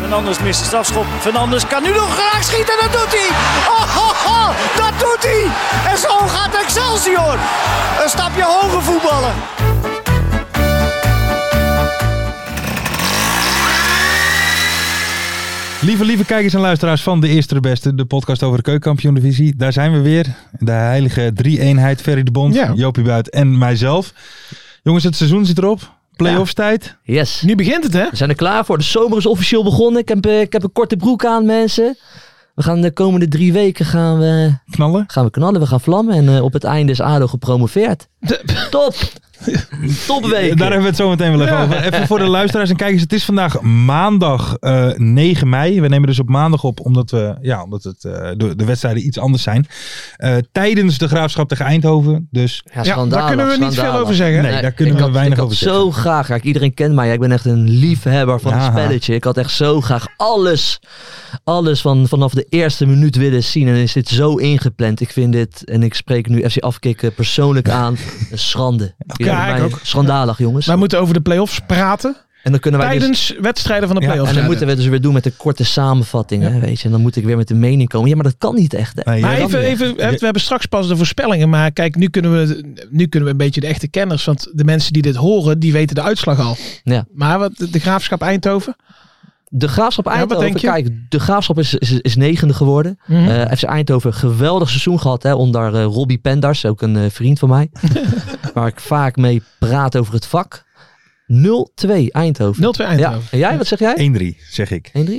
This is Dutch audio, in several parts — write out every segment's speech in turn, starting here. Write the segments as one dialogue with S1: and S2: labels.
S1: Fernandes mist de strafschop. Fernandes kan nu nog graag schieten. Dat doet hij. Oh, oh, oh, dat doet hij. En zo gaat Excelsior. Een stapje hoger voetballen.
S2: Lieve, lieve kijkers en luisteraars van De Eerste de Beste, de podcast over de keukenkampioen divisie. Daar zijn we weer. De heilige drie-eenheid, Ferry de Bond,
S3: Ja.
S2: Jopie Buit en mijzelf. Jongens, het seizoen zit erop. Playoffs tijd.
S4: Yes.
S3: Nu begint het, hè?
S4: We zijn er klaar voor. De zomer is officieel begonnen. Ik heb, eh, ik heb een korte broek aan, mensen. We gaan de komende drie weken gaan we,
S2: Knallen.
S4: gaan we knallen, we gaan vlammen. En eh, op het einde is ADO gepromoveerd. Top! Topweek.
S2: Daar hebben we het zo meteen wel even over. Even voor de luisteraars en kijkers. Het is vandaag maandag eh, 9 mei. We nemen dus op maandag op, omdat, we, ja, omdat het, eh, de, de wedstrijden iets anders zijn. Eh, tijdens de Graafschap tegen Eindhoven. Dus
S4: Ja,
S3: Ja, daar kunnen we niet veel over zeggen.
S2: Nee, daar kunnen
S4: ik
S2: we
S4: had-
S2: weinig
S4: ik had
S2: over
S4: zo graag, kijk, iedereen kent mij. Ik ben echt een liefhebber van
S2: Ja.
S4: het spelletje. Ik had echt zo graag alles, alles van, vanaf de eerste minuut willen zien. En is dit zo ingepland. Ik vind dit, en ik spreek nu FC Afkikken persoonlijk aan, een schande. Vind je
S3: Ja, ik
S4: mij
S3: ook.
S4: Schandalig, jongens.
S3: Wij moeten over de play-offs praten
S4: en dan kunnen wij dus-
S3: tijdens wedstrijden van de
S2: Ja,
S3: play-offs.
S4: en dan moeten we het dus weer doen met een korte samenvatting, hè, weet je. En dan moet ik weer met een mening komen. Ja, maar dat kan niet echt. Hè.
S2: Nee,
S3: maar
S2: ja,
S3: even,
S2: dan-
S3: even, we hebben straks pas de voorspellingen. Maar kijk, nu kunnen, we, nu kunnen we een beetje de echte kenners. Want de mensen die dit horen, die weten de uitslag al.
S4: Ja.
S3: Maar wat, de graafschap Eindhoven.
S4: De Graafschap
S3: wat
S4: Eindhoven,
S3: denk je?
S4: kijk, de Graafschap is, is, is negende geworden.
S3: Mhm.
S4: Eh, FC Eindhoven, geweldig seizoen gehad hè, onder eh, Robbie Penders, ook een eh, vriend van mij. waar ik vaak mee praat over het vak. 0-2 Eindhoven.
S3: 0-2 Eindhoven.
S4: Ja. En jij, wat zeg jij?
S2: 1-3, zeg ik.
S4: 1-3?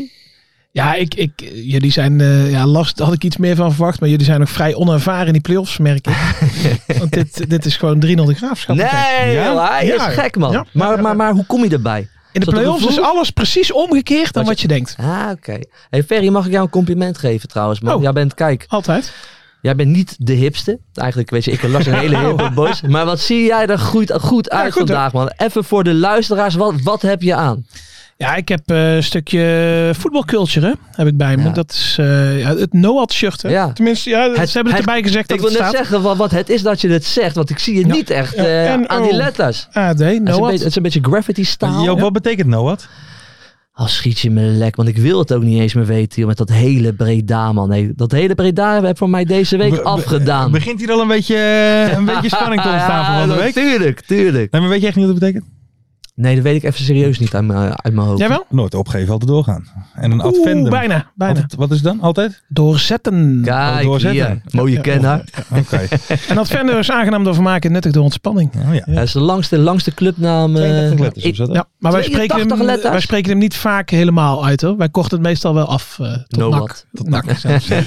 S3: Ja, ik, ik, jullie zijn eh, ja, last. Had ik iets meer van verwacht. Maar jullie zijn nog vrij onervaren in die play-offs, merk ik. Want dit, dit is gewoon 3-0 de graafschap.
S4: Nee,
S3: Ja?
S4: joh, hij
S3: Ja.
S4: is gek man.
S3: Ja.
S4: Maar, maar, maar hoe kom je erbij?
S3: In de
S4: Is dat een
S3: play-offs is
S4: gevoel?
S3: alles precies omgekeerd
S4: Wat
S3: dan
S4: je-
S3: wat je denkt.
S4: Ah, oké. Hey Ferry, mag ik jou een compliment geven trouwens? Man?
S3: Oh.
S4: Jij bent, kijk,
S3: Altijd.
S4: Jij bent niet de hipste. Eigenlijk, weet je, ik las een hele hippe boys. Maar wat zie jij er goed, goed uit
S3: goed,
S4: vandaag, man? Even voor de luisteraars, wat, wat heb je aan?
S3: Ja, ik heb eh, een stukje voetbalculture hè, heb ik bij me.
S4: Ja.
S3: Dat is eh, ja, het Noad shirt. Hè?
S4: Ja.
S3: Tenminste, ja,
S4: Het-
S3: ze hebben het,
S4: het-
S3: erbij gezegd dat
S4: ik wil
S3: het
S4: net
S3: staat.
S4: zeggen, wat, wat het is dat je het zegt. Want ik zie je
S3: Ja.
S4: niet echt
S3: Ja,
S4: eh,
S3: en
S4: aan die
S3: oh.
S4: letters. Het
S3: AD,
S4: is, een beetje,
S3: Noad.
S4: het is een beetje graffiti staal.
S2: Joop,
S4: Als
S2: wat betekent Noat?
S4: schiet je me lek, want ik wil het ook niet eens meer weten. Joh, met dat hele Breda, man. Nee, dat hele Breda heb voor mij deze week
S2: Be- be-
S4: afgedaan.
S2: Begint hier al een beetje, een beetje spanning te ontstaan
S4: Ja,
S2: voor van de
S4: dat-
S2: week?
S4: Tuurlijk, tuurlijk.
S2: Nee, maar weet je echt niet wat het betekent?
S4: Nee, dat weet ik even serieus niet uit mijn uit mijn hoofd.
S3: Jawel?
S2: Nooit opgeven, altijd doorgaan. En een
S3: Oeh,
S2: advendum.
S3: bijna. bijna.
S2: Altijd- wat is het dan? Altijd?
S3: Doorzetten.
S4: Kijk,
S2: doorzetten.
S4: hier. Mooie
S3: Ja.
S4: kenner.
S2: Oké.
S3: En dat verder is aangenaam door vermaken en nuttig door ontspanning.
S2: Oh, ja.
S4: Ja, dat is de langste, langste clubnaam. eh,
S2: 82 letters
S4: ik-
S2: of zo, hè?
S3: Ja, maar wij
S4: 82
S3: spreken, hem,
S4: letters.
S3: wij spreken hem niet vaak helemaal uit hoor. Wij kochten het meestal wel af. eh, tot
S4: No
S3: nak.
S4: what.
S3: Tot nak. zelfs.
S2: Eh,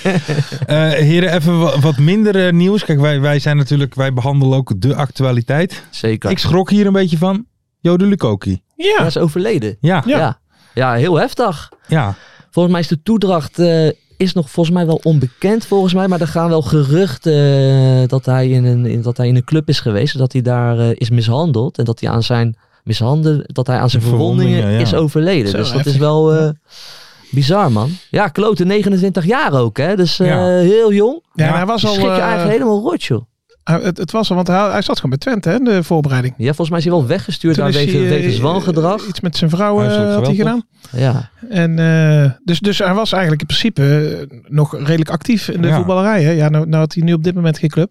S2: heren, even wa- wat minder eh, nieuws. Kijk, wij, wij zijn natuurlijk, wij behandelen ook de actualiteit.
S4: Zeker.
S2: Ik schrok hier een beetje van. Jode Lukoki.
S4: Hij
S3: ja.
S4: is overleden.
S2: Ja, ja.
S3: Ja.
S4: Ja. Oh, ja. heel heftig. Volgens mij is de toedracht eh, is nog volgens mij wel onbekend. Volgens mij, maar er gaan wel geruchten eh, dat, hij in een, in- dat hij in een club is geweest. Dat hij daar eh, is mishandeld. En dat hij aan zijn mishandelen, dat hij aan zijn verwondingen,
S2: Verwondingen, ja.
S4: is overleden.
S3: Zo,
S4: dus dat
S3: heftig.
S4: is wel eh, bizar, man. Ja, klote 29 jaar ook, hè. Dus eh,
S2: Ja.
S4: heel jong. Dus
S3: Ja, en
S2: Ja.
S3: hij was al.
S4: Schrik je
S3: eh,
S4: eigenlijk helemaal rot, joh.
S3: hij- het, het was al, want hij, hij zat gewoon bij Twente hè, in de voorbereiding.
S4: Ja, volgens mij is hij wel weggestuurd
S3: Toen
S4: daar
S3: is
S4: wegen,
S3: hij, eh,
S4: wegen zwangedrag.
S3: Iets met zijn vrouw eh,
S2: Huiselijk
S3: had hij
S2: geweld,
S3: gedaan.
S4: Ja.
S3: En, eh, dus, dus hij was eigenlijk in principe eh, nog redelijk actief in de
S2: Ja.
S3: voetballerij. Hè? Ja, nou, nou had hij nu op dit moment geen club.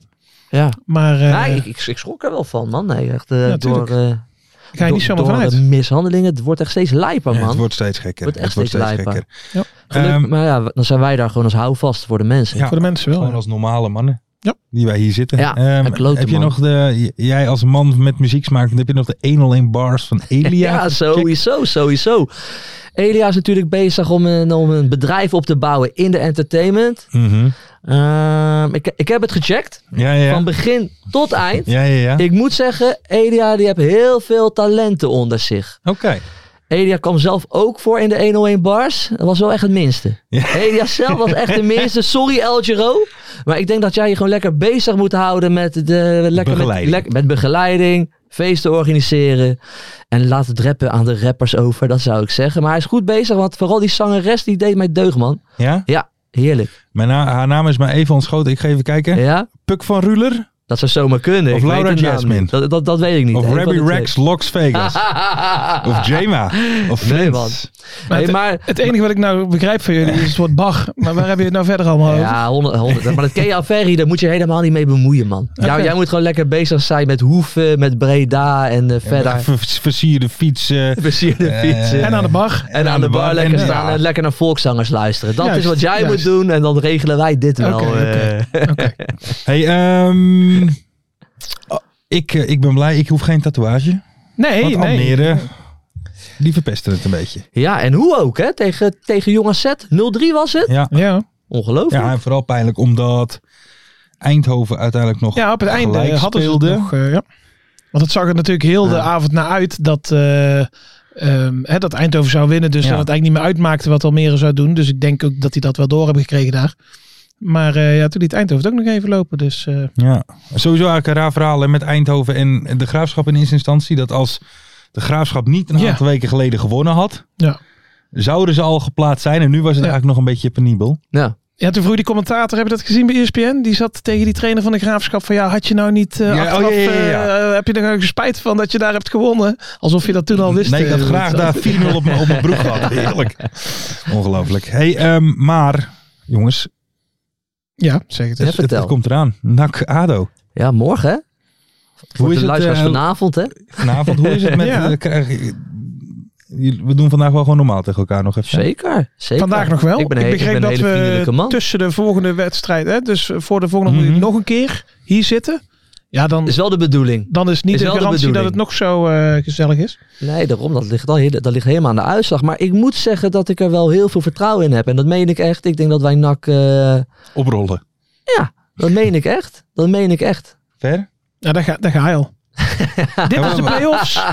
S4: Ja,
S3: Maar eh
S4: nee, ik, ik, ik schrok er wel van, man. Nee, echt, eh,
S3: Ja,
S4: door,
S3: tuurlijk.
S4: eh
S3: ik ga je
S4: door-
S3: niet zomaar
S4: door
S3: vanuit.
S4: de mishandelingen. Het wordt echt steeds lijper,
S2: Ja,
S4: man.
S2: het wordt steeds gekker.
S4: Wordt echt
S2: het wordt
S4: steeds
S2: steeds
S4: lijper.
S2: gekker.
S3: Ja.
S4: Gelukkig-
S2: Ehm,
S4: maar ja, dan zijn wij daar gewoon als houvast voor de mensen.
S2: ja,
S3: Voor de mensen wel.
S2: gewoon als normale mannen.
S3: Oh, Ja.
S2: Die wij hier zitten.
S4: Ja,
S2: Ehm,
S4: een klote
S2: heb je
S4: man.
S2: nog de, j- jij als man met muzieksmaak, heb je nog de 101 bars van Elia?
S4: Ja, sowieso, sowieso. Elia is natuurlijk bezig om een, om een bedrijf op te bouwen in de entertainment.
S2: Mhm.
S4: Ehm, ik, ik heb het gecheckt,
S2: Ja, ja,
S4: van
S2: ja.
S4: begin tot eind.
S2: Ja, ja, ja.
S4: Ik moet zeggen, Elia die heeft heel veel talenten onder zich.
S2: Oké.
S4: Elia kwam zelf ook voor in de 101 bars. Dat was wel echt het minste.
S2: Ja.
S4: Elia zelf was echt de minste. Sorry El Giro. Maar ik denk dat jij je gewoon lekker bezig moet houden met, de, lekker
S2: Begeleiding.
S4: Met, lek- met begeleiding. Feesten organiseren. En laat het rappen aan de rappers over. Dat zou ik zeggen. Maar hij is goed bezig. Want vooral die zangeres die deed mij deugd man.
S2: Ja?
S4: Ja, heerlijk.
S2: Mijn na- haar naam is maar even ontschoten. Ik ga even kijken.
S4: Ja,
S2: Puk van Ruler
S4: dat zou zomaar kunnen.
S2: Of
S4: Ik weet
S2: Laura
S4: de naam
S2: Jasmine.
S4: niet. Dat, dat, dat weet ik niet.
S2: of
S4: Eén van
S2: Rabbi
S4: de twee.
S2: Rex Locks Vegas. of Jema. Of Flint.
S4: Nee, man.
S3: Maar
S4: Hey,
S3: het,
S4: maar
S3: het enige wat ik nou begrijp van jullie is het woord Bach. Maar waar hebben je het nou verder allemaal over?
S4: Ja, 100, 100. Maar dat Kea Ferry, daar moet je helemaal niet mee bemoeien, man. Jij,
S3: Oké.
S4: jij moet gewoon lekker bezig zijn met hoeven, met Breda en eh, verder.
S2: Ver- Versierde fietsen.
S4: Plezier de
S2: Eh,
S4: fietsen.
S3: En aan de Bach.
S4: en, aan de bar,
S2: en-
S4: lekker staan en lekker naar volkszangers luisteren. Dat
S3: Juist,
S4: is wat jij moet
S3: juist.
S4: doen en dan regelen wij dit wel.
S3: Oké,
S4: eh.
S2: Hey, ehm, oh, ik, eh, ik ben blij. Ik hoef geen tatoeage.
S3: Nee,
S2: want
S3: nee.
S2: Almere, die verpesten het een beetje.
S4: Ja, en hoe ook, hè? Tegen, tegen Jong AZ. 0-3 was het.
S2: Ja,
S3: Ja.
S4: Ongelooflijk.
S2: ja en vooral pijnlijk omdat Eindhoven uiteindelijk nog...
S3: ja, op het einde
S2: Gelijk
S3: hadden ze het
S2: speelde.
S3: nog. eh, ja. Want het zag er natuurlijk heel de
S4: Ja.
S3: avond naar uit dat, eh, ehm, hè, dat Eindhoven zou winnen. Dus
S2: Ja.
S3: dat het eigenlijk niet meer uitmaakte wat Almere zou doen. Dus ik denk ook dat hij dat wel door hebben gekregen daar. Maar eh, ja, toen liet Eindhoven het ook nog even lopen. Dus eh,
S2: Ja. Sowieso eigenlijk een raar verhaal hè, met Eindhoven en de Graafschap in eerste instantie. Dat als de Graafschap niet een
S3: Ja.
S2: aantal weken geleden gewonnen had...
S3: Ja.
S2: Zouden ze al geplaatst zijn en nu was het
S3: Ja.
S2: eigenlijk nog een beetje penibel.
S4: Ja.
S3: ja, toen vroeg die commentator, heb je dat gezien bij E ESPN? Die zat tegen die trainer van de Graafschap van ja, had je nou niet eh,
S2: Ja,
S3: achteraf,
S2: oh, ja, ja, ja.
S3: eh, heb je er nou spijt van dat je daar hebt gewonnen? Alsof je dat toen al wist.
S2: nee, ik had
S3: eh,
S2: graag
S3: dat-
S2: daar 4-0 op mijn op mijn broek gehad. Heerlijk. Ongelooflijk. Hey, ehm, maar jongens,
S3: Ja, zeg het
S4: Ja,
S3: eens.
S2: het,
S4: vertel.
S2: het komt eraan. NAC ADO.
S4: Ja, morgen, hè? Voor
S2: Hoe is
S4: de
S2: het,
S4: luisteraars
S2: eh,
S4: vanavond, hè?
S2: Vanavond, hoe is het met...
S3: Ja.
S2: eh, krijg je- we doen vandaag wel gewoon normaal tegen elkaar nog even.
S4: Zeker, zeker.
S3: Vandaag nog wel.
S4: Ik ben, een- ik
S3: begreep
S4: ben een hele
S3: dat
S4: vriendelijke
S3: we
S4: man.
S3: tussen de volgende wedstrijd, hè, dus voor de volgende
S2: Mhm.
S3: moet nog een keer hier zitten. Ja, dan,
S4: Is wel de bedoeling.
S3: dan is niet
S4: is
S3: de
S4: wel de
S3: garantie dat
S4: bedoeling.
S3: het nog zo eh, gezellig is.
S4: Nee, daarom. Dat ligt, al heel, dat ligt helemaal aan de uitslag. Maar ik moet zeggen dat ik er wel heel veel vertrouwen in heb. En dat meen ik echt. Ik denk dat wij NAC... eh,
S2: Oprollen.
S4: dat meen ik echt. Dat meen ik echt.
S2: Ver?
S3: Ja, daar ga, daar ga je al. Dit is de play-offs.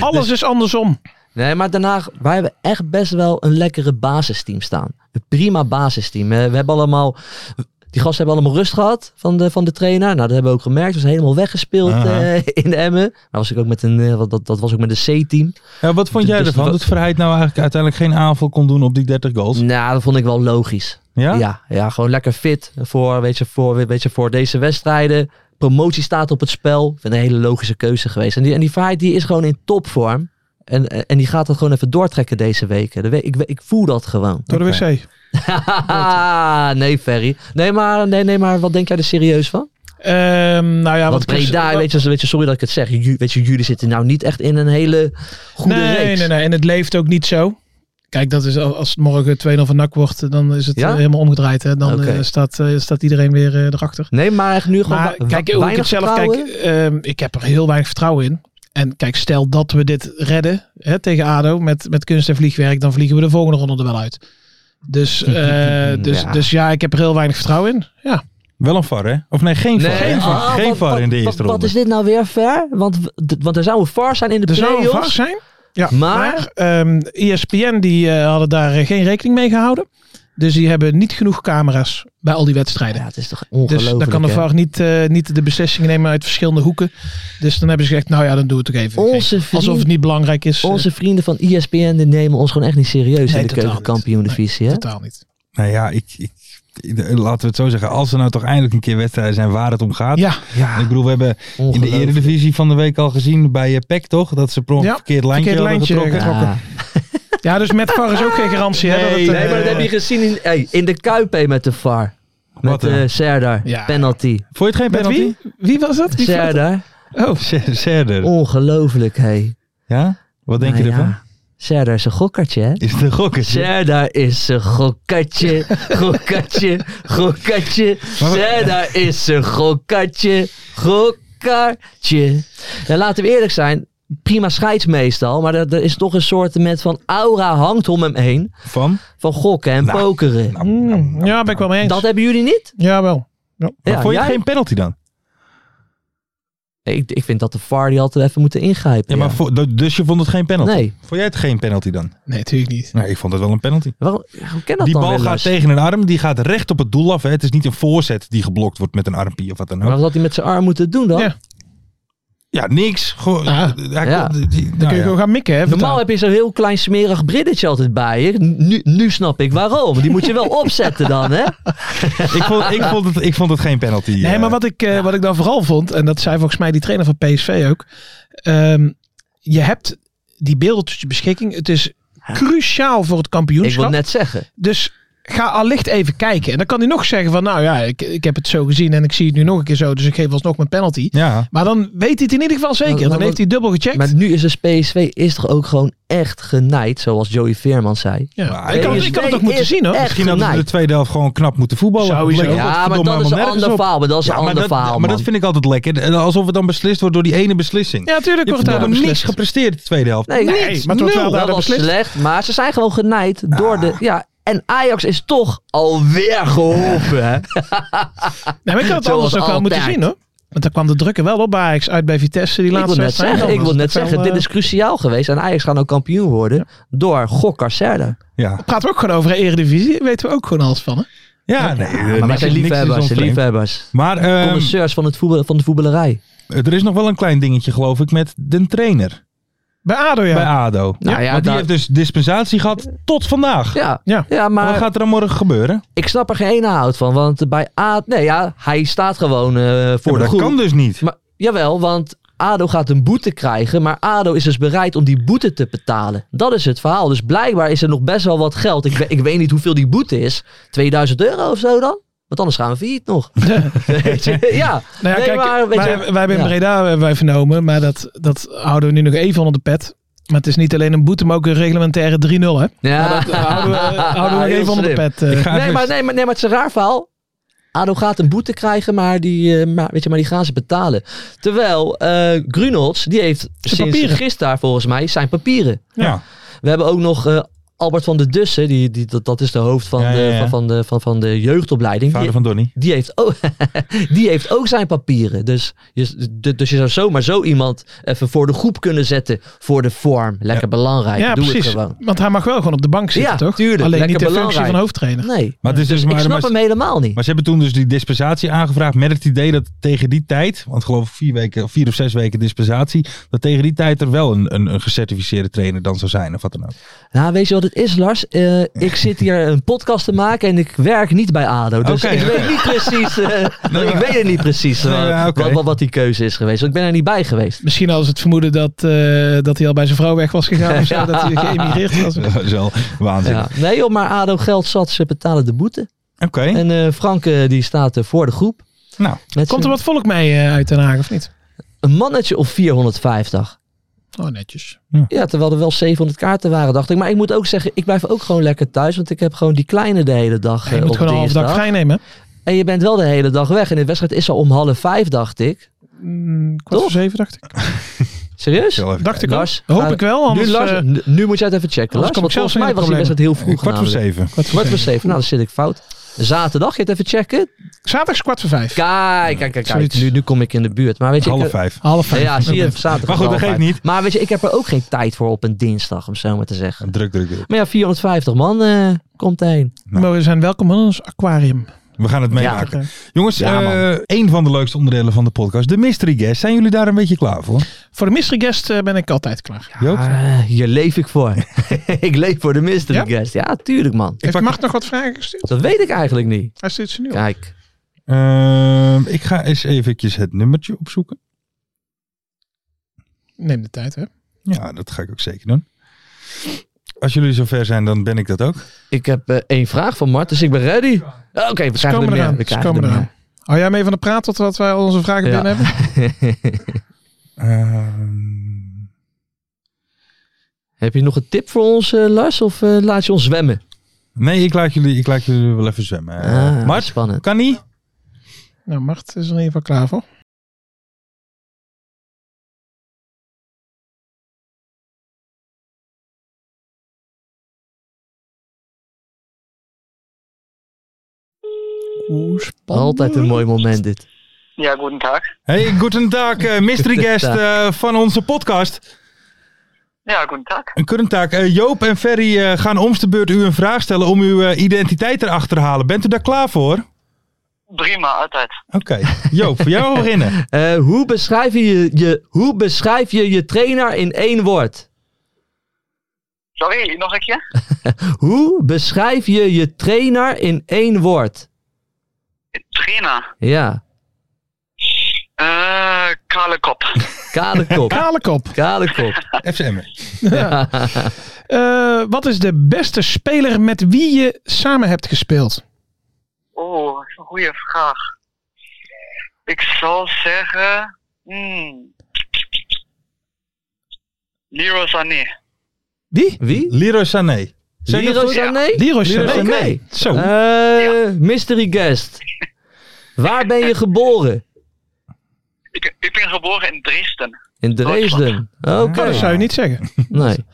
S3: Alles is andersom.
S4: Nee, maar daarna... Wij hebben echt best wel een lekkere basisteam staan. Een prima basisteam. Eh, We hebben allemaal... Die gasten hebben allemaal rust gehad van de, van de trainer. Nou, dat hebben we ook gemerkt. Ze zijn helemaal weggespeeld
S2: Aha.
S4: eh, in Emmen. Maar was ik ook met een, eh, wat- dat, dat was ook met een C-team.
S2: Ja, wat vond
S4: Dus-
S2: jij
S4: dus
S2: ervan?
S4: wat-
S2: Dat Verheid nou eigenlijk uiteindelijk geen aanval kon doen op die 30 goals?
S4: Nou, dat vond ik wel logisch.
S2: Ja?
S4: Ja? Ja, gewoon lekker fit voor, weet je, voor, weet je, voor deze wedstrijden. Promotie staat op het spel. Ik vind het een hele logische keuze geweest. En die, en die Verheid die is gewoon in topvorm. En, en die gaat dat gewoon even doortrekken deze weken. Dat weet- Ik, ik voel dat gewoon.
S3: Door de
S2: Oké.
S3: wc.
S4: nee, Ferry. Nee maar, nee, nee, maar wat denk jij er serieus van?
S3: Ehm, nou ja,
S4: Want
S3: wat Chris-
S4: Breda, weet je, weet je, sorry dat ik het zeg. ju- weet je, jullie zitten nou niet echt in een hele goede
S3: nee,
S4: reeks.
S3: Nee, nee, en het leeft ook niet zo. Kijk, dat is al- als het morgen 2-0 van NAC wordt, dan is het
S4: Ja?
S3: eh, helemaal omgedraaid. Hè? Dan
S4: Oké.
S3: eh, staat, eh, staat iedereen weer eh, erachter.
S4: Nee, maar echt nu gewoon
S3: Maar
S4: wa-
S3: kijk,
S4: wa-
S3: hoe ik
S4: weinig
S3: het zelf kijk,
S4: vertrouwen.
S3: ehm, ik heb er heel weinig vertrouwen in. En kijk, stel dat we dit redden hè, tegen ADO met, met kunst en vliegwerk, dan vliegen we de volgende ronde er wel uit. Dus, eh, dus,
S4: Ja.
S3: ja. dus ja, ik heb er heel weinig vertrouwen in. Ja,
S2: Wel een VAR, hè? Of nee, geen VAR. geen VAR,
S4: ah,
S2: geen
S4: wat-
S2: VAR in de eerste
S4: wat- wat,
S2: ronde.
S4: Wat is dit nou weer ver? Want, w- d- want er zou een VAR zijn in de
S3: er zou een VAR
S4: playoffs.
S3: zijn. Ja,
S4: Maar-
S3: maar ehm ESPN die, eh, hadden daar eh, geen rekening mee gehouden. Dus die hebben niet genoeg camera's bij al die wedstrijden.
S4: Ja, het is toch
S3: Dus
S4: ongelooflijk.
S3: dan kan de
S4: hè?
S3: VAR niet, eh, niet de beslissingen nemen uit verschillende hoeken. Dus dan hebben ze gezegd, nou ja, dan doen we het ook even.
S4: Onze vriend-
S3: Alsof het niet belangrijk
S2: dus,
S3: is. eh,
S4: Onze
S2: eh,
S4: vrienden van E ESPN die nemen ons gewoon echt niet serieus
S3: Nee,
S4: in de
S3: totaal niet.
S4: keukenkampioen-divisie. hè?
S3: Totaal niet.
S2: Nou ja, ik, ik, ik- laten we het zo zeggen. Als er nou toch eindelijk een keer wedstrijden zijn waar het om gaat.
S3: Ja,
S2: Ik bedoel, we hebben in de
S4: Ongelooflijk.
S2: Eredivisie van de week al gezien bij eh, PEC, toch? Dat ze per ongeluk
S3: Ja,
S2: verkeerd lijntje
S3: verkeerd
S2: hadden
S3: lijntje
S2: getrokken.
S4: Ja.
S3: Ja, dus met VAR is ook geen garantie. hè, dat het,
S4: Nee,
S3: eh,
S4: maar dat heb je gezien in, hey, in de Kuip hè, met de VAR. Met
S2: Wat, hè?
S4: eh, Serdar.
S3: Ja.
S4: Penalty.
S2: Vond je het geen
S3: Met
S2: penalty?
S3: wie? Wie was dat? Wie
S4: Serdar.
S2: Oh, Serder.
S4: Ongelooflijk, hé.
S2: Ja? Wat denk
S4: Nou
S2: je ervan?
S4: ja. Serdar is een gokkertje, hè?
S2: Is het een gokkertje?
S4: Serdar is een gokkertje, gokkertje, gokkertje. Serdar is een gokkertje, gokkertje. Ja, laten we eerlijk zijn, prima scheids meestal, maar er, er is toch een soort met van aura hangt om hem heen.
S2: Van?
S4: Van gokken en
S2: Nou,
S4: pokeren.
S2: Nou, nou, nou, nou.
S3: Mm, Ja, ben ik wel mee eens.
S4: Dat hebben jullie niet?
S3: Ja, wel.
S2: Maar
S4: Ja,
S2: vond je
S4: jij-
S2: geen penalty dan?
S4: Ik, ik vind dat de VAR die altijd even moeten ingrijpen.
S2: Ja, maar
S4: ja.
S2: vo- d- dus je vond het geen penalty?
S4: Nee.
S2: Vond jij het geen penalty dan?
S3: Nee, natuurlijk niet.
S2: Nee, ik vond het wel een penalty.
S4: Wel, hoe kan dat
S2: Die
S4: dan
S2: bal
S4: wel
S2: gaat
S4: eens?
S2: tegen een arm, die gaat recht op het doel af. Hè. Het is niet een voorzet die geblokt wordt met een armpie of wat dan ook.
S4: Maar wat had hij met zijn arm moeten doen dan?
S3: Ja.
S2: Ja, niks. Gewoon,
S3: Ja.
S2: hij
S4: Ah, Ja.
S2: kon- die- die- nou
S3: Dan kun je
S2: ja.
S3: gewoon gaan mikken, hè?
S4: Normaal heb je zo'n heel klein smerig briddetje altijd bij je. Nu, nu snap ik waarom. Die moet je wel opzetten dan, hè?
S2: ik, vond, ik, vond het, ik vond het geen penalty.
S3: Nee,
S2: eh.
S3: maar wat ik, eh, wat ik dan vooral vond, en dat zei volgens mij die trainer van PSV ook. ehm, je hebt die beelden tot je beschikking. Het is cruciaal voor het
S4: Ik wil
S3: kampioenschap.
S4: net zeggen.
S3: Dus ga allicht even kijken. En dan kan hij nog zeggen van, nou ja, ik, ik heb het zo gezien en ik zie het nu nog een keer zo. Dus ik geef alsnog mijn penalty.
S2: Ja.
S3: Maar dan weet hij het in ieder geval
S4: Maar-
S3: zeker.
S4: maar
S3: Dan heeft
S4: wat-
S3: hij dubbel gecheckt.
S4: Maar nu is dus PSV is toch ook gewoon echt genaaid, zoals Joey Veerman zei.
S3: ja.
S2: Maar
S3: ik, kan,
S4: PSV
S3: ik kan het ook moeten
S4: is
S3: zien hoor.
S4: Echt
S2: Misschien hadden ze de
S4: genaaid.
S2: tweede helft gewoon knap moeten voetballen.
S3: Sowieso.
S2: Leek ook
S4: Ja,
S2: wat
S4: maar
S2: verdomme
S4: dat is een
S2: helemaal nergens
S4: ander
S2: op.
S4: verhaal. Maar dat is een
S2: maar
S4: ander
S2: dat,
S4: verhaal,
S2: Maar
S4: man.
S2: dat vind ik altijd lekker. En Alsof het dan beslist wordt door die ene beslissing.
S3: Ja, natuurlijk
S2: Je
S3: wordt
S2: hebt
S3: daar
S2: gewoon
S3: dan
S2: niks
S3: beslist.
S2: gepresteerd de tweede helft.
S4: Nee,
S3: Nee,
S4: niks.
S3: maar het wordt wel
S4: Nul.
S3: daar
S4: dat was
S3: beslist. Ah.
S4: slecht. Maar ze zijn gewoon genaaid door de... Ja, en Ajax is toch alweer geholpen, hè?
S3: Nee, maar ik had het
S4: Zoals
S3: anders ook wel moeten
S4: altijd.
S3: zien hoor. Want daar kwam de druk er wel op bij Ajax uit bij Vitesse die
S4: Ik wil
S3: laatste
S4: net
S3: wedstrijd.
S4: zeggen, ik
S3: Dan
S4: wil
S3: was
S4: net
S3: het
S4: zeggen
S3: wel,
S4: dit
S3: eh,
S4: is cruciaal geweest. En Ajax gaan ook kampioen worden door Gokker Serda.
S2: Ja,
S3: Praten we ook gewoon over de Eredivisie. Weten we ook gewoon alles van hè.
S2: ja nee. eh,
S4: Maar
S2: niks-
S4: wij zijn
S2: niks is
S4: liefhebbers,
S2: ons
S4: zijn
S2: vreemd.
S4: liefhebbers.
S2: Maar ehm,
S4: Connoisseurs van, het voetbal, van de voetballerij.
S2: er is nog wel een klein dingetje, geloof ik, met de trainer
S3: Bij ADO ja.
S2: bij ADO.
S4: Nou ja,
S2: Want die
S4: daar-
S2: heeft dus dispensatie gehad tot vandaag.
S4: Ja,
S3: Ja.
S4: ja. maar
S2: Wat gaat er dan morgen gebeuren?
S4: ik snap er geen ene hout van. Want bij A... Nee, ja, hij staat gewoon eh,
S2: Ja,
S4: voor de
S2: dat
S4: groep.
S2: kan dus niet.
S4: Maar, jawel, want ADO gaat een boete krijgen. Maar ADO is dus bereid om die boete te betalen. Dat is het verhaal. Dus blijkbaar is er nog best wel wat geld. Ik, we- ik weet niet hoeveel die boete is. 2000 euro of zo dan? Want anders gaan we failliet nog. Weet je? ja.
S3: Nou ja,
S4: Nee,
S3: kijk,
S4: maar, weet
S3: wij,
S4: je-
S3: wij hebben in
S4: ja.
S3: Breda hebben wij vernomen, maar dat, dat houden we nu nog even onder de pet. Maar het is niet alleen een boete, maar ook een reglementaire 3-0 hè.
S4: Ja.
S3: Maar dat eh, houden we, houden we
S4: Ah,
S3: nog
S4: Heel
S3: even onder de
S4: slim.
S3: pet. eh.
S2: Ik ga
S4: Nee
S2: even-
S4: maar, nee, maar, nee, maar het is een raar verhaal. ADO gaat een boete krijgen, maar die, eh, maar, weet je, maar die gaan ze betalen. Terwijl eh Grunholz, die heeft sinds
S3: papieren.
S4: gisteren volgens mij zijn papieren.
S2: Ja.
S4: We hebben ook nog eh, Albert van der Dussen, die, die, dat, dat is de hoofd van,
S2: Ja, ja,
S4: De,
S2: ja.
S4: van, van, de, van, van de jeugdopleiding. Die,
S2: Vader van Donny.
S4: die, heeft ook, die heeft ook zijn papieren. Dus je, d- dus je zou zomaar zo iemand even voor de groep kunnen zetten voor de vorm. Lekker belangrijk,
S3: ja,
S4: doe
S3: precies.
S4: het gewoon.
S3: Want hij mag wel gewoon op de bank zitten,
S4: Ja,
S3: toch?
S4: tuurlijk.
S3: Alleen
S4: Lekker
S3: niet de functie
S4: belangrijk.
S3: van hoofdtrainer.
S4: Nee,
S2: Maar, het is dus
S4: ik
S2: maar,
S4: snap
S2: maar,
S4: hem helemaal niet.
S2: maar ze hebben toen dus die dispensatie aangevraagd met het idee dat tegen die tijd, want geloof ik vier, weken, vier of zes weken dispensatie, dat tegen die tijd er wel een, een, een gecertificeerde trainer dan zou zijn of wat dan ook.
S4: Nou, weet je wat het is, Lars? Eh, ik zit hier een podcast te maken en ik werk niet bij ADO. Dus
S2: Oké,
S4: ik
S2: oké.
S4: weet niet precies... eh, ik weet het niet precies
S2: Nee,
S4: eh,
S2: ja, oké.
S4: wat, wat, wat die keuze is geweest. Want ik ben er niet bij geweest.
S3: Misschien hadden ze het vermoeden dat, eh, dat hij al bij zijn vrouw weg was gegaan of zo. Dat hij geëmigreerd was.
S2: Dat is wel waanzinnig.
S4: Ja. Nee joh, maar ADO geld zat, ze betalen de boete.
S2: Oké,
S3: Hm?
S4: En eh, Frank eh, die staat eh, voor de groep.
S2: nou,
S4: Met
S3: Komt er
S4: zijn-
S3: wat volk mee eh, uit Den Haag of niet?
S4: Een mannetje of 450.
S3: Oh, netjes.
S4: Ja, terwijl er wel 700 kaarten waren, dacht ik. Maar ik moet ook zeggen, ik blijf ook gewoon lekker thuis. Want ik heb gewoon die kleine de hele dag
S3: je
S4: eh,
S3: moet
S4: op
S3: gewoon een halve dag
S4: dinsdag.
S3: vrij nemen. hè?
S4: En je bent wel de hele dag weg. En de wedstrijd is al om half vijf, dacht ik.
S3: Mm, kwart
S4: Toch?
S3: voor zeven, dacht ik.
S4: Serieus?
S2: heel even.
S3: Dacht ik ook.
S4: Lars,
S3: Hoop
S4: ga-
S3: ik wel, anders...
S4: nu, Lars,
S3: eh,
S4: nu- nu moet jij het even checken.
S3: anders
S4: Lars,
S3: kom
S4: want
S3: ik zelfs
S4: volgens
S3: in
S4: mij
S3: de
S4: was die best heel vroeg.
S2: Kwart voor
S4: namelijk.
S2: zeven.
S3: kwart voor
S4: Kwart voor
S3: zeven.
S4: zeven. Nou, dan zit ik fout. Zaterdag, je het even checken.
S3: Zaterdag is kwart voor vijf.
S4: Kijk, kijk, kijk. kijk.
S3: Zoiets.
S4: Nu, nu kom ik in de buurt. Maar weet je, ik-
S2: Half vijf.
S3: Half vijf.
S4: Ja, zie je, zaterdag.
S2: Maar goed, dat
S4: half
S2: geeft
S4: vijf.
S2: niet.
S4: Maar weet je, ik heb er ook geen tijd voor op een dinsdag, om zo maar te zeggen.
S2: Druk, druk, druk.
S4: Maar ja, 450 man eh, komt heen.
S2: Nou.
S3: Maar we zijn welkom in ons aquarium.
S2: We gaan het meemaken.
S3: Oké.
S2: Jongens,
S4: Ja, man.
S2: eh, een van de leukste onderdelen van de podcast, de mystery guest. Zijn jullie daar een beetje klaar voor?
S3: Voor de mystery guest eh, ben ik altijd klaar.
S2: Joop?
S4: Ah, hier leef ik voor. ik leef voor de mystery
S3: Ja?
S4: guest. Ja, tuurlijk man.
S3: Heeft
S2: pak-
S3: Mart nog wat vragen gestuurd?
S4: Dat weet ik eigenlijk niet.
S3: Hij stuurt ze nu op.
S4: Kijk.
S2: Ehm, ik ga eens eventjes het nummertje opzoeken.
S3: Neem de tijd, hè.
S2: Ja, dat ga ik ook zeker doen. Als jullie zover zijn, dan ben ik dat ook.
S4: Ik heb eh, één vraag van Mart, dus ik ben ready. Oké, we
S3: Ze
S4: krijgen er
S3: komen
S4: meer.
S3: eraan.
S4: We
S3: Ze
S4: krijgen
S3: komen
S4: er
S3: eraan.
S4: meer.
S3: Hou jij mee van de praat tot wat wij al onze vragen
S4: Ja.
S3: binnen
S2: Eh,
S3: hebben?
S2: Ehm,
S4: Heb je nog een tip voor ons, eh, Lars? Of eh, laat je ons zwemmen?
S2: Nee, ik laat jullie, ik laat jullie wel even zwemmen. Eh,
S4: Ah,
S2: Mart,
S4: spannend.
S2: kan niet?
S3: Nou, Mart is er in ieder geval klaar voor. Oeh, spannend.
S4: Altijd een mooi moment dit.
S5: Ja, guten Tag.
S2: Hey, goedendag, eh mystery guest eh, van onze podcast.
S5: Ja, guten Tag.
S2: Een kurrentaak. Eh, Joop en Ferry eh, gaan om de beurt u een vraag stellen om uw eh, identiteit erachter te halen. Bent u daar klaar voor? Oké.
S5: Prima, altijd.
S2: Joop, voor jou beginnen.
S4: Eh, hoe, beschrijf je je, hoe beschrijf je je trainer in één woord?
S5: Sorry, nog een keer?
S4: Hoe beschrijf je je trainer in één woord?
S5: Trainer.
S4: Ja,
S5: Eh, kale kop.
S4: kale kop.
S3: Kale kop.
S4: Kale kop.
S2: FCM.
S3: Eh, wat is de beste speler met wie je samen hebt gespeeld?
S5: Oh, dat is een goede vraag. Ik zal zeggen... Hmm. Leroy Sané.
S3: Die?
S4: Wie?
S2: Leroy Sané. Zeg het
S4: Leroy
S2: goed?
S4: Sané?
S3: Die Rochelle.
S4: Leroy
S2: Leroy
S4: Sané.
S2: Sané. Zo.
S4: Eh, mystery guest. Waar ben je geboren?
S5: Ik, ik ben geboren in Dresden.
S4: In Dresden. Oké.
S3: Oh, dat zou je niet zeggen.
S4: Nee.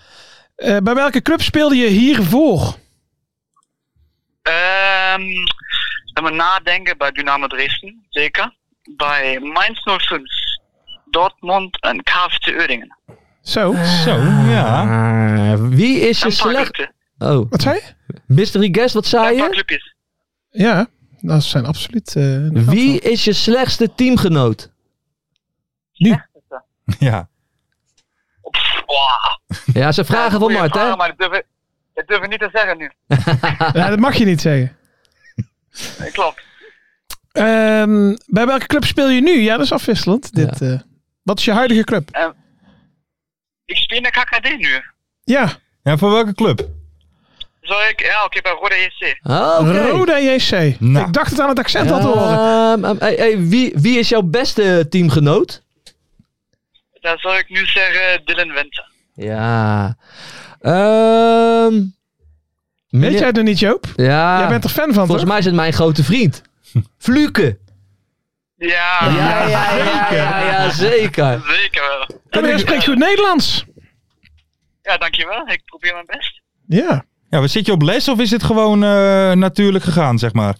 S3: Eh, bij welke club speelde je hiervoor?
S5: Ehm, laat me nadenken bij Dynamo Dresden, zeker. Bij Mainz 05, Dortmund en KFC Uerdingen.
S3: Zo.
S4: Eh.
S2: Zo, ja.
S4: Ah, wie is je
S5: Een paar
S4: slecht...
S5: clubjes.
S4: Oh,
S3: Wat zei je?
S4: mystery guest, wat zei
S5: Een paar
S4: je?
S5: clubjes.
S3: Ja, dat zijn absoluut. eh, een
S4: Wie
S3: aantal.
S4: is je slechtste teamgenoot?
S2: ja.
S5: Pff, wow.
S4: Ja, ze vragen van
S5: Goeie
S4: Mart, hè?
S5: vraag, Maar dat durf, ik- dat durf ik niet te zeggen nu.
S3: Ja, dat mag je niet zeggen.
S5: Eh, Klopt.
S3: Ehm, bij welke club speel je nu? Ja, dat is afwisselend. Dit, eh, wat is je huidige club?
S5: Ik speel naar KKD nu.
S3: Ja,
S2: Ja, voor welke club?
S5: Zou ik? Ja, oké, bij Rode JC.
S4: Oh, Oké.
S3: Roda JC.
S2: Nou.
S3: Ik dacht het aan het accent al te horen.
S4: Ehm, ehm, hey, hey, wie, wie is jouw beste teamgenoot?
S5: Dan zou ik nu zeggen eh, Dylan Winter.
S4: Ja. Ehm
S3: Weet jij het nog niet, Joop?
S4: Ja.
S3: Jij bent er fan van,
S4: Volgens
S3: toch?
S4: mij is het mijn grote vriend. Fluke.
S5: Ja,
S4: Ja, ja, ja, ja, ja, zeker.
S5: zeker wel.
S3: En jij spreekt goed Nederlands.
S5: Ja, dankjewel. Ik probeer mijn best.
S3: Ja.
S2: Ja, maar zit je op les of is het gewoon eh, natuurlijk gegaan, zeg maar?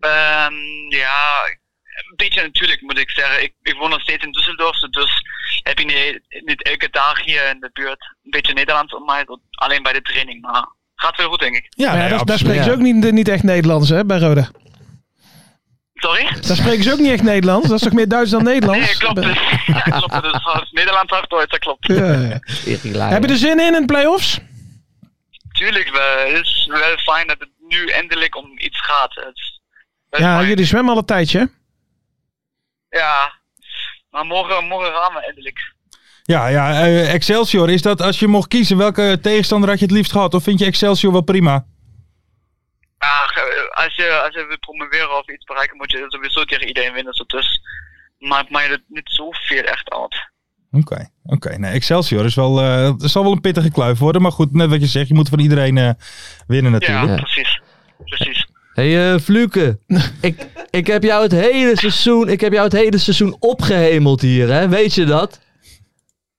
S5: Ehm, ja, een beetje natuurlijk moet ik zeggen. Ik, ik woon nog steeds in Düsseldorf, dus heb ik niet, niet elke dag hier in de buurt een beetje Nederlands om mij. tot- Alleen bij de training, maar gaat wel goed, denk ik.
S2: Ja,
S3: Maar ja,
S2: nee,
S3: daar, daar
S2: absoluut.
S3: spreken ze
S4: ja.
S3: ook niet, niet echt Nederlands, hè, bij Roda.
S5: Sorry?
S3: Daar spreken ze ook niet echt Nederlands. Dat is toch meer Duits dan Nederlands?
S5: Nee, klopt.
S3: Be-
S5: Dus, ja, klopt. Dus als Nederlands hard Duits, dat klopt.
S3: Ja, ja. Eh, Heb je er zin in in de play-offs?
S5: Tuurlijk, wel. het is wel fijn dat het nu eindelijk om iets gaat. Het is wel
S3: Ja,
S5: fijn.
S3: jullie zwemmen al een tijdje. hè?
S5: Ja, maar morgen, morgen gaan we eindelijk.
S2: Ja, ja eh, Excelsior, is dat als je mocht kiezen, welke tegenstander had je het liefst gehad? Of vind je Excelsior wel prima?
S5: Ach, eh, als je, als je wil promoveren of iets bereiken, moet je sowieso tegen iedereen winnen. zo Dus maakt mij dat niet zoveel echt uit.
S2: Oké, oké. Nee, Excelsior is wel, eh, het zal wel een pittige kluif worden. Maar goed, net wat je zegt, je moet van iedereen eh, winnen natuurlijk.
S5: Ja,
S4: Ja.
S5: precies. Precies.
S4: Hey eh, Fluke, ik, ik heb jou het hele seizoen, ik heb jou het hele seizoen opgehemeld hier, hè? Weet je dat?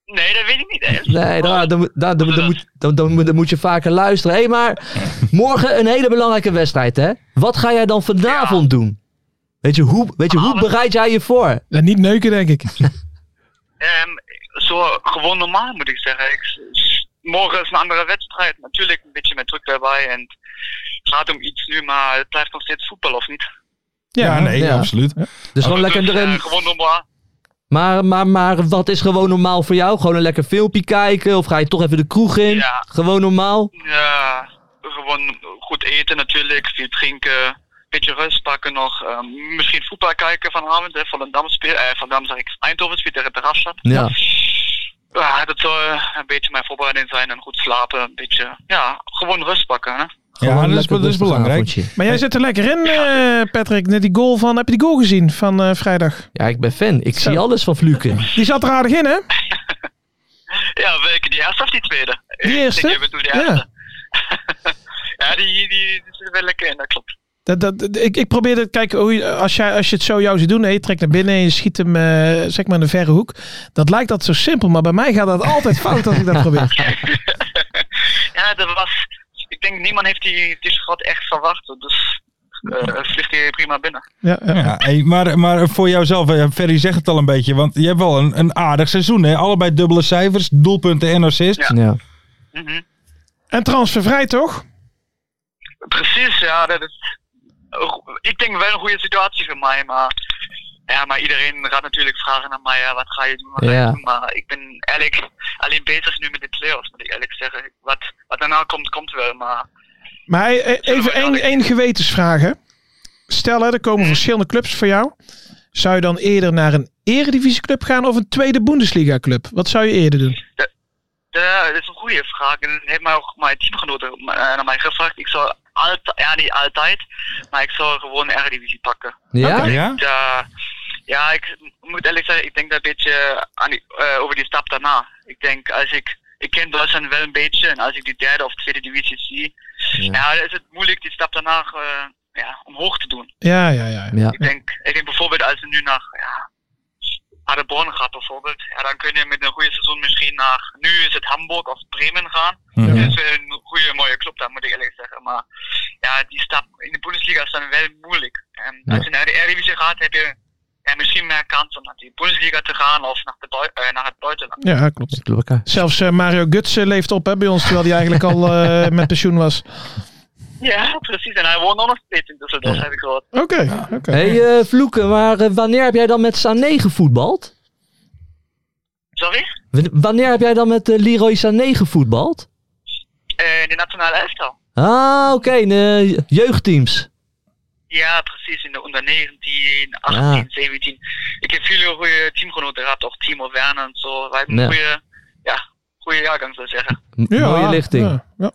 S5: Nee, dat weet ik niet eens.
S4: Nee, dan, dan, moet- dan, dan, dan moet, dan, dan, moet- dan moet je vaker luisteren. Hé, maar morgen een hele belangrijke wedstrijd, hè? Wat ga jij dan vanavond doen? Weet je, hoe, weet je,
S5: Ah,
S4: hoe bereid jij je voor?
S3: Nou, niet neuken, denk ik.
S5: Ehm, zo gewoon normaal moet ik zeggen. Ik, s- morgen is een andere wedstrijd. Natuurlijk een beetje met druk daarbij. En het gaat om iets nu, maar het blijft nog steeds voetbal, of niet?
S2: Ja, nee,
S4: ja.
S2: absoluut.
S4: Dus gewoon lekker
S5: Dus, eh,
S4: erin.
S5: Gewoon normaal.
S4: Maar, maar, maar wat is gewoon normaal voor jou? Gewoon een lekker filmpje kijken? Of ga je toch even de kroeg in?
S5: Ja.
S4: Gewoon normaal?
S5: Ja, gewoon goed eten natuurlijk, veel drinken, een beetje rust pakken nog. ehm, misschien voetbal kijken vanavond, hè, Volendam speel, eh, Volendam zeg ik, Eindhoven speelt tegen Terrasstad.
S4: Ja.
S5: Ja, dat zal een beetje mijn voorbereiding zijn en goed slapen, een beetje, ja, gewoon rust pakken. Hè.
S4: Gewoon
S2: Ja, dat is,
S4: lekker
S2: dat is
S4: rustig
S2: belangrijk.
S4: avondje.
S3: Maar jij zit er lekker in, eh, Patrick. Net die goal van, heb je die goal gezien van eh, vrijdag?
S4: Ja, ik ben fan. Ik
S3: Zo.
S4: zie alles van Fluken.
S3: Die zat er aardig in, hè?
S5: Ja, welke? Die eerste of die tweede?
S3: Die eerste?
S5: Ik bedoel die
S3: Ja.
S5: eerste. ja, die, die, die zit wel lekker in, dat klopt.
S3: Dat, dat, ik, ik probeer dat, kijk, hoe je- als, jij, als je het zo jou ziet doen, hè, je trekt naar binnen en je schiet hem eh, zeg maar in de verre hoek. Dat lijkt dat zo simpel, maar bij mij gaat dat altijd fout als ik dat probeer.
S5: ja, dat was... Ik denk, niemand heeft die, die schot echt verwacht. Dus eh vliegt hij prima binnen.
S3: Ja, ja.
S2: Ja, hey, maar, maar voor jouzelf, eh, Ferry zegt het al een beetje, want je hebt wel een, een aardig seizoen. Hè? Allebei dubbele cijfers, doelpunten en assists.
S5: Ja.
S4: Ja.
S5: Mhm.
S3: En transfervrij toch?
S5: Precies, ja. Dat is, ik denk wel een goede situatie voor mij, maar, ja, maar iedereen gaat natuurlijk vragen naar mij, ja, wat ga je doen, wat ga je
S4: Ja.
S5: doen. Maar ik ben eigenlijk alleen bezig nu met de playoffs, moet ik eerlijk zeggen. Wat, wat daarna komt, komt wel, maar
S3: Maar hey, eh, even één, één gewetensvraag. Hè. Stel, hè, er komen verschillende clubs voor jou. Zou je dan eerder naar een eredivisieclub gaan of een tweede Bundesliga club? Wat zou je eerder doen?
S5: eh, dat is een goede vraag. En heeft mij ook mijn teamgenoten eh, naar mij gevraagd. Ik zou altijd, ja niet altijd, maar ik zou gewoon de Eredivisie pakken.
S4: Ja?
S2: Ja?
S5: Ja, ja, ik moet eerlijk zeggen, ik denk daar een beetje aan die- eh, over die stap daarna. Ik denk, als ik, ik ken Duitsland wel een beetje en als ik die derde of tweede divisie zie, ja. dan is het moeilijk die stap daarna eh, ja, omhoog te doen.
S3: Ja, ja, ja.
S4: Ja.
S5: Ik, denk, ik denk bijvoorbeeld als je nu naar ja, Paderborn gaat bijvoorbeeld, ja, dan kun je met een goede seizoen misschien naar, nu is het Hamburg of Bremen gaan.
S2: Mhm.
S5: Dat is wel een goede mooie club daar, moet ik eerlijk zeggen. Maar ja, die stap in de Bundesliga is dan wel moeilijk. En als je naar de Eredivisie gaat, heb je ja, misschien meer kans om naar die Bundesliga te gaan of naar, de bui- eh, naar het buitenland.
S3: Ja, klopt.
S4: Klopt, ja.
S3: Zelfs eh, Mario Guts eh, leeft op hè, bij ons, terwijl hij eigenlijk al eh, met pensioen was.
S5: Ja, precies. En hij woont nog steeds in Düsseldorf, heb ik gehoord.
S3: Oké, oké.
S4: Hey, eh, Vloeken, maar eh, wanneer heb jij dan met Sané gevoetbald?
S5: Sorry?
S4: W- Wanneer heb jij dan met eh, Leroy Sané gevoetbald?
S5: Eh, de nationale elftal.
S4: Ah, oké, in, eh, jeugdteams.
S5: Ja, precies. In de onder 19, 18,
S4: Ja.
S5: 17. Ik heb veel goede teamgenoten gehad, ook Timo Werner en zo. Wij hebben
S4: Ja.
S5: een goede, ja, goede jaargang, zou ik zeggen.
S4: M- Mooie lichting.
S3: Ja, ja.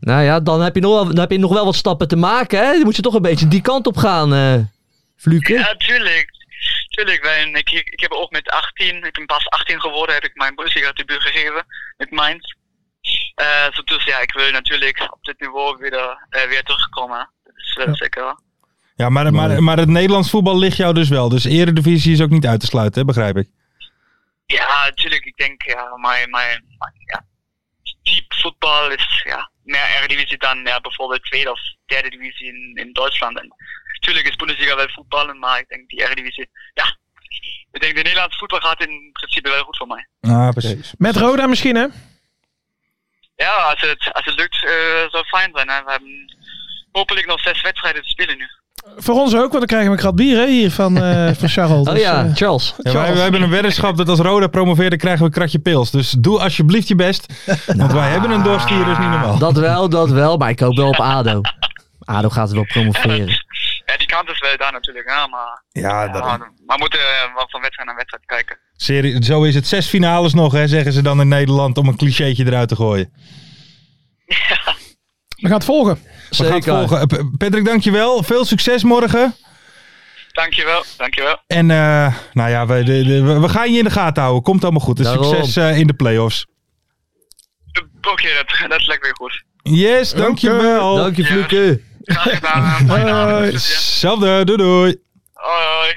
S4: Nou ja, dan heb, je nog wel, dan heb je nog wel wat stappen te maken, hè? Dan moet je toch een beetje die kant op gaan, eh Vloeken.
S5: Ja, tuurlijk. Tuurlijk, want ik, ik heb ook met 18, ik ben pas 18 geworden, heb ik mijn Bundesliga debuut gegeven met Mainz. Eh, zo dus ja, ik wil natuurlijk op dit niveau weer, eh, weer terugkomen. Dat is wel zeker. hoor.
S2: Ja, maar, maar, maar het Nederlands voetbal ligt jou dus wel. Dus eredivisie is ook niet uit te sluiten, hè, begrijp ik.
S5: Ja, natuurlijk, ik denk, ja, mijn, mijn, mijn, ja, type voetbal is ja, meer Eredivisie dan ja, bijvoorbeeld tweede of derde divisie in, in Duitsland. En natuurlijk is Bundesliga wel voetballen, maar ik denk die Eredivisie, ja, ik denk de Nederlandse voetbal gaat in principe wel goed voor mij.
S2: Ah, precies.
S3: Met Roda misschien, hè?
S5: Ja, also, als het, als het lukt, eh, zou het fijn zijn. Hè. We hebben hopelijk nog zes wedstrijden te spelen nu.
S3: Voor ons ook, want dan krijgen we een krat bier hè, hier van, eh, van Charles.
S4: Oh
S3: Dus,
S4: ja,
S3: eh,
S4: Charles.
S2: Ja, wij, wij hebben een weddenschap dat als Roda promoveert, dan krijgen we een kratje pils. Dus doe alsjeblieft je best. Want wij hebben een dorst hier, dus niet normaal.
S4: Dat wel, dat wel, maar ik hoop wel op ADO. ADO gaat wel promoveren.
S5: Ja, die kant is wel daar natuurlijk, ja, maar,
S2: Ja, dat
S5: maar, maar we moeten eh, wel van wedstrijd naar wedstrijd kijken.
S2: Serie- zo is het. Zes finales nog, hè, zeggen ze dan in Nederland, om een clichétje eruit te gooien.
S3: we gaan het volgen.
S2: We gaan het
S4: Zeker.
S2: volgen. Eh, P- Patrick, dankjewel. Veel succes morgen.
S5: Dankjewel, dankjewel.
S2: En eh, nou ja, we, de- de- we- we gaan je in de gaten houden. Komt allemaal goed. En
S4: Daarom.
S2: succes eh, in de playoffs.
S5: Oké, dat, dat lijkt weer goed.
S2: Yes, dankjewel.
S4: Dank je, Vloeken.
S5: Graag gedaan. Fijne avond. Plezier.
S2: Hetzelfde, doei doei.
S5: Hoi, hoi.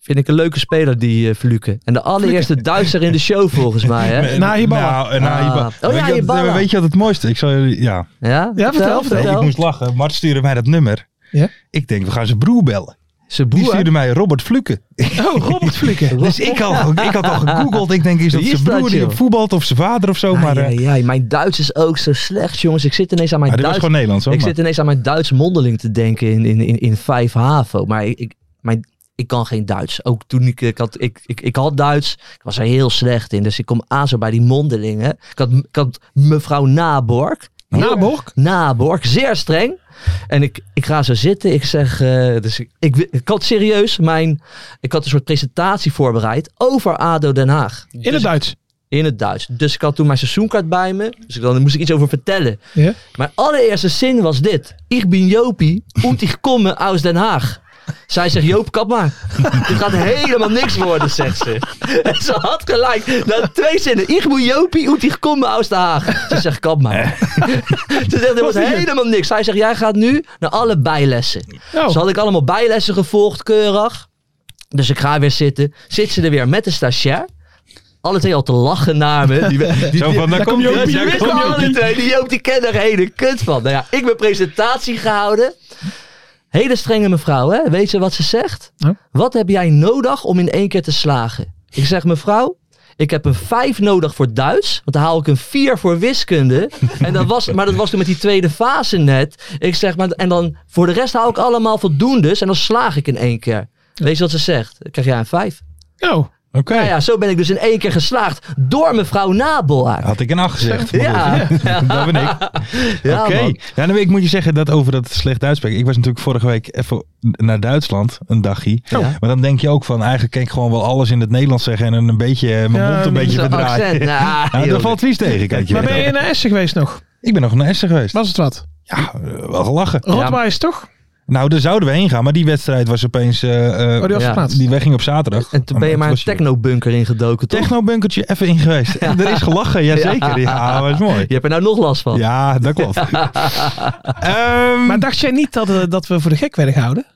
S4: Vind ik een leuke speler, die eh Vluken. En de allereerste Duitser in de show, volgens mij, hè?
S2: Eh,
S3: Nahibala.
S2: Nou, eh, Nahibala.
S4: Ah. Oh
S2: weet, je
S4: ja,
S2: wat,
S4: Hibala.
S2: eh, weet je wat het mooiste? Ik zal jullie, ja.
S4: Ja,
S3: Ja, vertel,
S2: Ik moest lachen. Mart stuurde mij dat nummer.
S3: Ja?
S2: Ik denk, we gaan zijn broer bellen.
S4: Zijn
S2: Die
S4: broer.
S2: stuurde mij Robert Fluken.
S3: Oh, Robert Flikken.
S2: Dus ik, had, ik had al gegoogeld. Ik denk, is dat
S4: Wie
S2: zijn
S4: is
S2: broer
S4: dat,
S2: die
S4: joh?
S2: op voetbalt of zijn vader of zo?
S4: Ah,
S2: maar eh,
S4: ja, ja, ja, mijn Duits is ook zo slecht, jongens. Ik zit ineens aan mijn
S2: maar dit was
S4: Duits...
S2: gewoon Nederlands hoor.
S4: Ik
S2: maar-
S4: zit ineens aan mijn Duits mondeling te denken in, in, in, in 5 HAVO. Maar ik, ik, mijn, ik kan geen Duits. Ook toen ik, ik had, ik, ik, ik had Duits, ik was er heel slecht in. Dus ik kom aan zo bij die mondelingen. Ik had, ik had mevrouw Naborg.
S3: Naborg?
S4: Naborg, zeer streng. En ik, ik ga zo zitten. Ik zeg, eh, dus ik, ik, ik had serieus mijn, ik had een soort presentatie voorbereid over ADO Den Haag.
S3: In
S2: Dus
S3: het Duits.
S4: In het Duits. Dus ik had toen mijn seizoenkaart bij me. Dus ik, dan moest ik iets over vertellen.
S3: Ja.
S4: Mijn allereerste zin was dit. Ik ben Jopie und ik komme uit Den Haag. Zij zegt, Joop, kap maar. Dit gaat helemaal niks worden, zegt ze. En ze had gelijk. Na twee zinnen. Ik moet Jopie uit die gekomen uit de Haag. Ze zegt, kap maar. ze zegt, dit wordt helemaal niks. Zij zegt, jij gaat nu naar alle bijlessen.
S3: Oh.
S4: Ze had ik allemaal bijlessen gevolgd, keurig. Dus ik ga weer zitten. Zit ze er weer met de stagiair. Alle twee al te lachen naar me. Die, die, die,
S2: Zo van, daar kom je
S4: ja,
S2: op.
S4: die
S2: daar
S4: wisten
S2: kom je
S4: alle
S2: op.
S4: twee. Die Joop die kende er hele kut van. Nou ja, ik ben presentatie gehouden. Hele strenge mevrouw, hè? Weet je wat ze zegt?
S3: Ja.
S4: Wat heb jij nodig om in één keer te slagen? Ik zeg, mevrouw, ik heb een 5 nodig voor Duits. Want dan haal ik een 4 voor wiskunde. En dat was, maar dat was toen met die tweede fase net. Ik zeg, maar, en dan voor de rest haal ik allemaal voldoendes. En dan slaag ik in één keer. Weet je wat ze zegt? Dan krijg jij een 5.
S3: Oh,
S2: Oké,
S4: Nou ja, zo ben ik dus in één keer geslaagd door mevrouw Nabel.
S2: had ik een acht gezegd. maar
S4: Ja,
S2: goed. dat ben ik.
S4: ja
S2: Oké.
S4: man.
S2: Ja, nou, ik moet je zeggen dat over dat slecht Duits spreken. Ik was natuurlijk vorige week even naar Duitsland, een dagje.
S4: Oh.
S2: Maar dan denk je ook van, eigenlijk kan ik gewoon wel alles in het Nederlands zeggen en een beetje, eh, mijn
S3: Ja,
S2: mond een
S3: met
S2: beetje
S4: Zo'n accent.
S2: verdraaien.
S4: Nou,
S2: Ja,
S4: joh.
S2: daar valt vies tegen, kijk je.
S3: maar ben
S2: wel.
S3: je naar Essen geweest nog?
S2: Ik ben nog naar Essen geweest.
S3: Was het wat?
S2: Ja, eh, wel gelachen.
S3: Rotwijs toch?
S2: Nou, daar zouden we heen gaan, maar die wedstrijd was opeens... eh, eh,
S3: Oh, die was
S4: Ja.
S3: verplaatst.
S2: die weg ging op zaterdag.
S4: En toen ben je maar een
S2: Oh, was
S4: technobunker ingedoken, toch?
S2: Technobunkertje even in geweest. En er is gelachen, jazeker. Ja, was mooi.
S4: Je hebt er nou nog last van.
S2: Ja, dat klopt. Ehm,
S3: Maar dacht jij niet dat, eh, dat we voor de gek werden gehouden?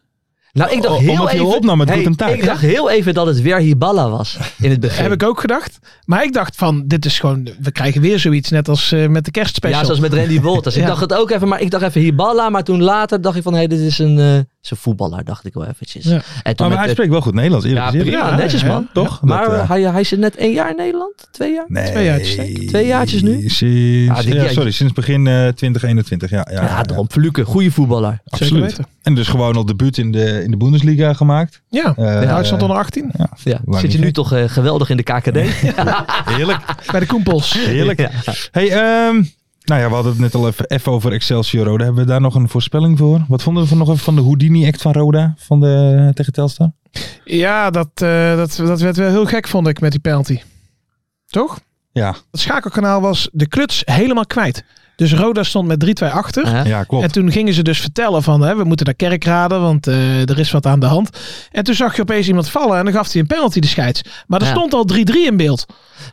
S4: Nou, ik dacht
S2: O-
S4: heel
S2: omdat je
S4: even...
S2: opnam met
S4: Hey,
S2: goed en taak.
S4: Ik dacht heel even dat het weer Hiballa was in het begin.
S3: Heb ik ook gedacht. Maar ik dacht van, dit is gewoon, we krijgen weer zoiets net als eh, met de kerstspecial.
S4: ja, zoals met Randy Wolters. Ik
S3: Ja.
S4: dacht het ook even, maar ik dacht even Hiballa. Maar toen later dacht ik van, hé, dit is een, eh, is een voetballer, dacht ik wel eventjes.
S3: Ja.
S4: En
S2: maar
S4: toen met
S2: hij
S4: het-
S2: spreekt wel goed Nederlands. eerlijk
S4: ja,
S2: gezegd.
S4: prima,
S3: Ja,
S4: netjes
S3: hè,
S4: man.
S2: toch?
S4: Maar
S2: Dat, eh,
S4: hij, hij zit net één jaar in Nederland? Twee jaar?
S2: Nee.
S3: Twee jaartjes, hè?
S4: Twee jaartjes nu?
S2: Sinds-
S4: Ah, dit
S2: ja,
S4: jaar-
S2: sorry, sinds begin eh, 2021. Ja, ja,
S4: Ja, daarom. Fluke, goede voetballer.
S3: Zeker
S2: absoluut.
S3: weten.
S2: En dus gewoon al debuut in de, in de Bundesliga gemaakt.
S3: Ja,
S2: Eh,
S3: Duitsland onder 18.
S4: Ja.
S2: Lang
S4: Zit je
S2: niet,
S4: nu
S2: hè?
S4: toch eh, geweldig in de KKD?
S2: Heerlijk,
S3: Bij de Koempels.
S2: heerlijk. Hey, ehm, nou ja, we hadden het net al even, even over Excelsior Roda. Hebben we daar nog een voorspelling voor? Wat vonden we van, nog even van de Houdini-act van Roda van de, tegen Telstar?
S3: Ja, dat, eh, dat, dat werd wel heel gek, vond ik, met die penalty. Toch?
S2: Ja,
S3: Het schakelkanaal was de kluts helemaal kwijt. Dus Roda stond met 3-2 achter.
S4: Hè?
S2: ja klopt.
S3: En toen gingen ze dus vertellen van, hè, we moeten naar kerkraden, want eh, er is wat aan de hand. En toen zag je opeens iemand vallen en dan gaf hij een penalty de scheids. Maar er
S4: Ja.
S3: stond al 3-3 in beeld.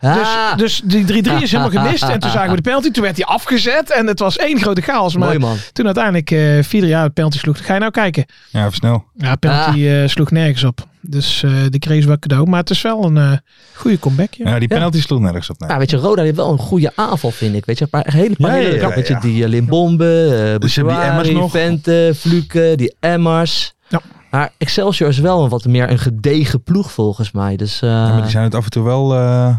S4: Ah,
S3: Dus, dus die 3-3 is helemaal gemist. En toen zagen we de penalty, toen werd hij afgezet en het was één grote chaos. Maar
S4: mooi man.
S3: toen uiteindelijk eh vierde jaar de penalty sloeg, ga je nou kijken.
S2: Ja, even snel.
S3: Ja, penalty
S4: Ah.
S3: eh, sloeg nergens op. Dus eh die kreeg ze wel cadeau. Maar het is wel een eh, goede comeback. Ja.
S2: Ja, die penalty sloeg nergens op. Nee.
S4: Ja, weet je, Roda heeft wel een goede aanval, vind ik. Weet je, een paar hele paar
S2: Ja,
S4: hele
S2: ja, ja,
S4: rap- weet je,
S2: ja.
S4: die eh, Limbombe, eh
S2: Dus je hebt die Emmers
S4: Bouchouari,
S2: nog.
S4: Vente, Fluke, die Emmers.
S3: Ja.
S4: Maar Excelsior is wel een wat meer een gedegen ploeg volgens mij. Dus eh,
S2: Ja, maar die zijn het af en toe wel... eh,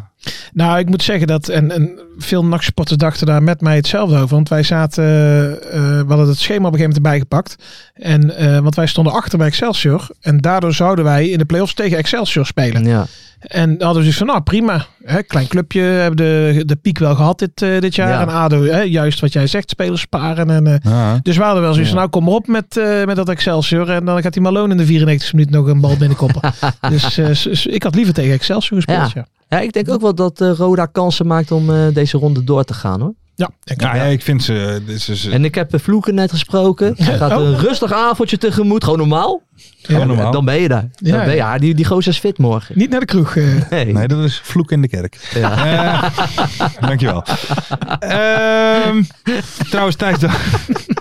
S3: Nou, ik moet zeggen dat. En, en veel nachtsporters dachten daar met mij hetzelfde over. Want wij zaten. eh, eh, we hadden het schema op een gegeven moment erbij gepakt. En, eh, want wij stonden achter bij Excelsior. En daardoor zouden wij in de playoffs tegen Excelsior spelen.
S4: ja.
S3: En dan hadden we zoiets van, nou prima. Hè, klein clubje, hebben de, de piek wel gehad dit, eh, dit jaar.
S4: Ja.
S3: En ADO, hè, juist wat jij zegt, spelers sparen. En, eh,
S2: ja.
S3: dus we hadden wel zoiets van,
S4: Ja.
S3: nou kom maar op met, eh, met dat Excelsior. En dan gaat die Malone in de 94 minuut nog een bal binnenkoppen. dus eh, s- s- ik had liever tegen Excelsior gespeeld, ja.
S4: ja, ik denk ook wel dat eh, Roda kansen maakt om eh, deze ronde door te gaan hoor.
S3: Ja, denk ik
S2: Ja,
S3: wel.
S2: ja, ik vind ze... Dit is,
S4: En ik heb eh, Fluke net gesproken. Hij gaat
S3: Oh.
S4: een rustig avondje tegemoet, gewoon normaal.
S2: gewoon normaal.
S4: Dan ben je daar.
S3: Ja,
S4: dan ben je, ja, die, die gozer is fit morgen.
S3: Niet naar de kroeg. eh.
S4: Nee.
S2: Nee, dat is vloek in de kerk.
S4: Ja.
S2: Eh, dankjewel. Ehm, trouwens, Thijs...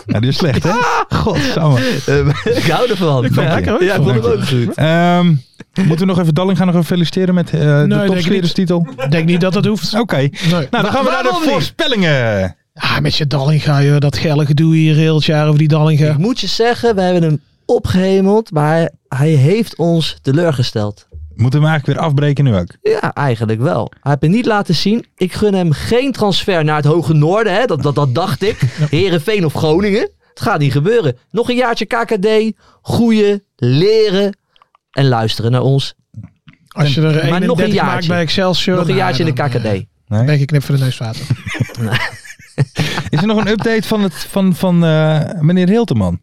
S2: ja, die is slecht, hè? Godsamme.
S4: Eh, ik hou ervan.
S3: Ik vond het
S4: ja,
S3: lekker, hoor.
S4: ja, ik vond het ook goed.
S2: Ehm, moeten we nog even Dalling gaan nog even feliciteren met eh,
S3: denk
S2: de
S3: ik
S2: topschererstitel? Oké.
S3: Ik denk niet dat dat hoeft. Nee.
S2: Nou, dan gaan we naar de
S4: waarom niet?
S2: voorspellingen.
S3: Ah, met je Dallinga, joh, dat gelle gedoe hier heel het jaar over die Dallinga.
S4: Ik moet je zeggen, we hebben hem opgehemeld, maar hij- hij heeft ons teleurgesteld.
S2: Moeten we hem eigenlijk weer afbreken nu ook?
S4: Ja, eigenlijk wel. Hij heeft het niet laten zien. Ik gun hem geen transfer naar het Hoge Noorden. Hè? Dat, dat, dat dacht ik. Herenveen of Groningen. Het gaat niet gebeuren. Nog een jaartje KKD. Groeien, leren en luisteren naar ons.
S3: Als je er
S4: nog een
S3: 31 maakt
S4: jaartje.
S3: bij Excelsior.
S4: Nog een
S3: nou,
S4: jaartje in de
S3: dan, eh,
S4: KKD.
S3: Ben je knip voor de neus water.
S2: Is er nog een update van, het, van, van eh, meneer Hilteman?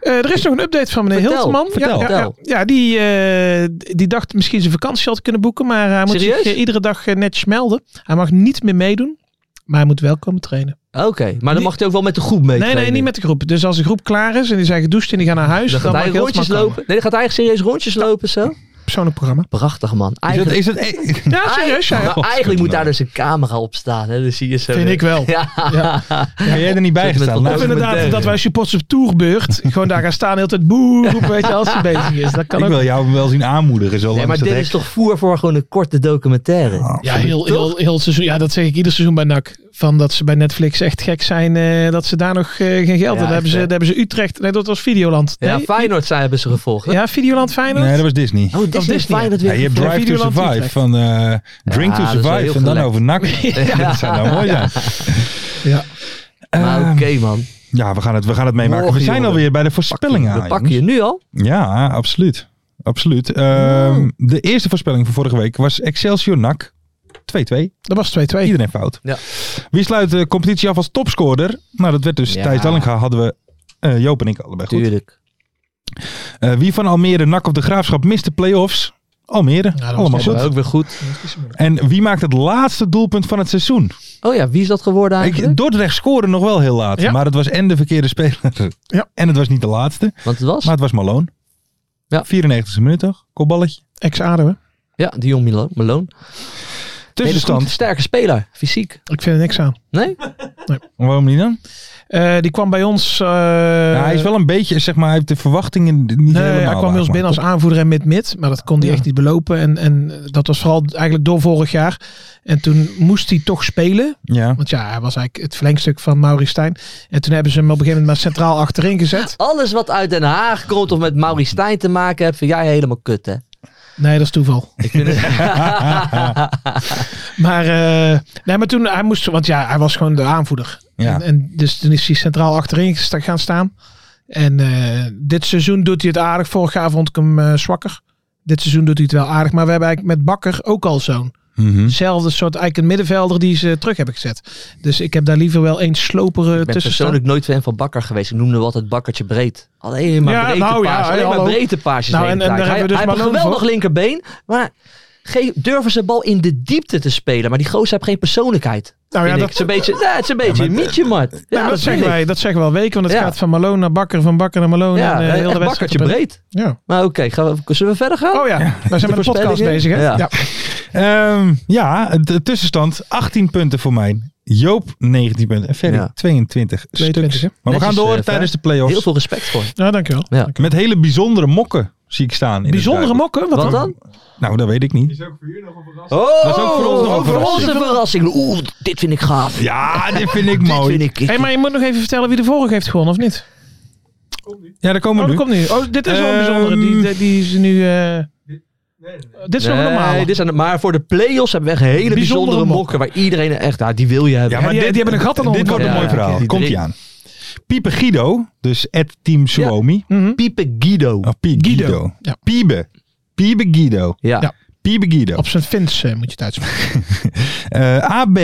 S3: Eh, er is nog een update van meneer
S4: Vertel,
S3: Hilterman.
S4: vertel,
S3: ja, ja, ja,
S4: vertel.
S3: ja, die, eh, die dacht misschien zijn vakantie had kunnen boeken. Maar hij moet
S4: Serieus?
S3: zich eh, iedere dag eh, netjes melden. Hij mag niet meer meedoen. Maar hij moet wel komen trainen.
S4: Oké, maar dan
S3: Niet-
S4: mag hij ook wel met de groep mee.
S3: Nee, nee,
S4: trainen.
S3: niet met de groep. Dus als de groep klaar is en die zijn gedoucht en die gaan naar huis,
S4: Dan
S3: dan,
S4: gaat
S3: mag
S4: hij
S3: je heel
S4: rondjes
S3: snel
S4: lopen.
S3: komen.
S4: Nee, dan gaat hij echt serieus rondjes lopen zo.
S3: Persoonlijk programma.
S4: Prachtig man.
S2: Is dat,
S4: Eigenlijk,
S2: is dat, eh,
S3: Ja, serieus. Ja,
S4: maar
S3: ja.
S4: eigenlijk moet daar dus een camera op staan. Hè? Dus zie je zo
S3: nou. Vind
S4: de-
S3: ik wel.
S4: Ja.
S2: ben jij er niet bij
S4: Zit met
S2: gestaan?
S4: wat
S2: Nou,
S3: Of
S4: Ja,
S3: inderdaad,
S4: meteen.
S3: dat wij supporters op tourbeurt gewoon daar gaan staan, heel de tijd boe, roepen, weet je, als hij bezig is. Dat kan
S2: ik
S3: ook.
S2: wil jou wel zien aanmoedigen. Zo
S4: Nee,
S2: langs
S4: maar
S2: dat
S4: dit
S2: hek.
S4: is toch voer voor gewoon een korte documentaire.
S3: Ja, heel, heel, heel het seizoen. Ja, dat zeg ik ieder seizoen bij NAC. Van dat ze bij Netflix echt gek zijn eh, dat ze daar nog eh, geen geld hebben. Daar
S4: echt,
S3: hebben, ze,
S4: hè?
S3: daar hebben ze Utrecht. Nee, dat was Videoland.
S4: Ja,
S3: Nee?
S4: Feyenoord zijn hebben ze gevolgd. hè?
S3: Ja, Videoland Feyenoord.
S2: Nee, dat was Disney.
S4: Oh, dat
S3: Of
S4: is
S3: Disney.
S4: Feyenoord
S2: Ja,
S4: weer.
S2: je hebt
S3: Ja,
S2: Drive to
S3: Videoland
S2: Survive
S3: Utrecht.
S2: van eh, Drink
S4: Ja,
S2: to
S4: dat is wel
S2: Survive
S4: heel
S2: en dan
S4: gelekt.
S2: over NAC. Dat zou nou mooi zijn.
S3: Ja.
S4: Maar
S2: Ah,
S4: oké man,
S2: Ja, we gaan het, we gaan het meemaken.
S4: Morgen,
S2: we zijn
S4: jongen.
S2: alweer bij de voorspellingen.
S4: we
S2: aan,
S4: pakken je nu al.
S2: jongens. Ja, absoluut. absoluut. Ehm, De eerste voorspelling van vorige week was Excelsior NAC 2-2.
S3: Dat was 2-2.
S2: Iedereen fout.
S4: Ja.
S2: Wie sluit de competitie af als topscorer? Nou, dat werd dus
S4: Ja.
S2: Thijs Dallinga hadden we eh, Joop en ik allebei goed.
S4: Tuurlijk.
S2: Eh, wie van Almere, NAC of de Graafschap mist de play-offs? Almere,
S3: dat was
S2: allemaal
S3: net
S2: goed.
S4: Ook weer goed.
S2: En wie maakt het laatste doelpunt van het seizoen?
S4: Oh ja, wie is dat geworden eigenlijk?
S2: Ik, Dordrecht scoorde nog wel heel laat.
S3: Ja.
S2: Maar het was en de verkeerde speler.
S3: Ja.
S2: En het was niet de laatste.
S4: Want het was
S2: Maar het was Malone.
S4: Ja.
S2: 94 e minuut toch? Kopballetje.
S3: Ex-Ado, hè?
S4: ja, Dion Milo- Malone.
S2: Tussenstand.
S4: Hele goed, Sterke speler, fysiek.
S3: Ik vind er niks aan.
S4: Nee?
S2: Waarom niet dan?
S3: Eh, die kwam bij ons... eh,
S2: Ja, hij is wel een beetje, zeg maar, hij heeft de verwachtingen niet helemaal.
S3: Nee, hij kwam bij ons
S2: waargemaakt,
S3: binnen als aanvoerder en mid-mid. Maar dat kon hij
S2: Ja.
S3: echt niet belopen. En, en dat was vooral eigenlijk door vorig jaar. En toen moest hij toch spelen.
S2: toch? Ja.
S3: Want ja, hij was eigenlijk het verlengstuk van Mauri Stijn. En toen hebben ze hem op een gegeven moment maar centraal achterin gezet.
S4: Alles wat uit Den Haag komt of met Mauri Stijn te maken heeft, vind jij helemaal kut hè?
S3: Nee, dat is toeval.
S4: Ik vind het...
S3: Maar, eh, nee, maar toen hij moest... Want ja, hij was gewoon de aanvoerder.
S2: Ja.
S3: En, en dus toen is hij centraal achterin gesta- gaan staan. En eh, dit seizoen doet hij het aardig. Vorig jaar vond ik hem eh, zwakker. Dit seizoen doet hij het wel aardig. Maar we hebben eigenlijk met Bakker ook al zo'n.
S2: Mhm.
S3: Hetzelfde soort eigenlijk een middenvelder die ze terug hebben gezet. Dus ik heb daar liever wel één sloper
S4: Ik ben
S3: tussen
S4: persoonlijk nooit fan van Bakker geweest. Ik noemde hem altijd Bakkertje breed. Alleen maar
S3: Ja,
S4: breedte
S3: nou ja,
S4: paas.
S3: hey,
S4: alleen maar
S3: hallo.
S4: breedte paasjes.
S3: Nou,
S4: de hele
S3: en- en
S4: tijd.
S3: daar hebben we
S4: hij
S3: dus
S4: hij heeft een
S3: Malone
S4: geweldig
S3: voor.
S4: linkerbeen. Maar geen, durven ze bal in de diepte te spelen. Maar die gozer heeft geen persoonlijkheid.
S3: Nou ja,
S4: vind ik.
S3: dat-
S4: Het is een beetje, ja, het is een beetje een mietje, Mart. Ja,
S3: Nee, maar dat,
S4: vind
S3: zeggen
S4: ik.
S3: wij, dat zeggen we al weken. Want
S4: Ja.
S3: het gaat van Malone naar Bakker, van Bakker naar Malone.
S4: Ja,
S3: en, eh,
S4: echt
S3: heel de wedstrijd.
S4: Bakkertje breed.
S3: Ja.
S4: Maar oké, gaan we- zullen we verder gaan?
S3: Oh ja, wij zijn met een podcast
S4: voorspellingen.
S3: bezig. Hè?
S4: Ja.
S2: Ehm, ja, de tussenstand 18 punten voor mij. Joop 19 punten. En Ferry
S4: Ja.
S2: 22,
S3: 22, hè?
S2: stuks. Maar we gaan
S4: Netjes,
S2: door
S4: eh,
S2: tijdens de
S4: Heel
S2: play-offs.
S4: veel respect voor.
S3: Ja, dankjewel.
S2: Met hele bijzondere mokken zie ik staan. in het
S3: Bijzondere
S2: duidelijk.
S3: mokken? Wat,
S4: Wat
S3: dan?
S4: dan?
S2: Nou, dat weet ik niet.
S4: Oh,
S2: Dat is ook voor ons nog een
S4: voor ons
S2: verrassing.
S4: een verrassing. Oeh, dit vind ik gaaf.
S2: Ja, dit vind ik
S4: Dit
S2: mooi.
S4: vind ik...
S3: Hey, maar je moet nog even vertellen wie de vorige heeft gewonnen, of niet?
S2: Ja, daar komen
S3: Oh,
S2: we
S3: dat
S2: nu.
S3: komt nu. Oh, dit is wel een
S2: Ehm,
S3: bijzondere. Die, die, die is nu... eh, Dit is nog een normale.
S4: Nee, dit zijn, maar voor de play-offs hebben we echt hele bijzondere, mokken. Waar iedereen echt, ja, die wil je hebben.
S2: Ja,
S3: Ja,
S2: maar
S3: die-
S2: dit,
S3: die hebben een gat aan de
S2: Dit
S3: onderkant.
S2: wordt een mooi
S4: Ja, ja,
S2: verhaal.
S4: die
S2: Komt ie
S4: drie.
S2: aan. Piepe Guido, dus at Team Suomi.
S3: Mhm.
S4: Piepe Guido.
S2: Of Pie Guido.
S3: Guido.
S2: Guido.
S3: Ja.
S2: Piebe. Piebe Guido.
S4: Ja.
S3: Ja.
S2: Piebe Guido.
S3: Op zijn Fins eh, moet je het uitspreken.
S2: Eh, A, B,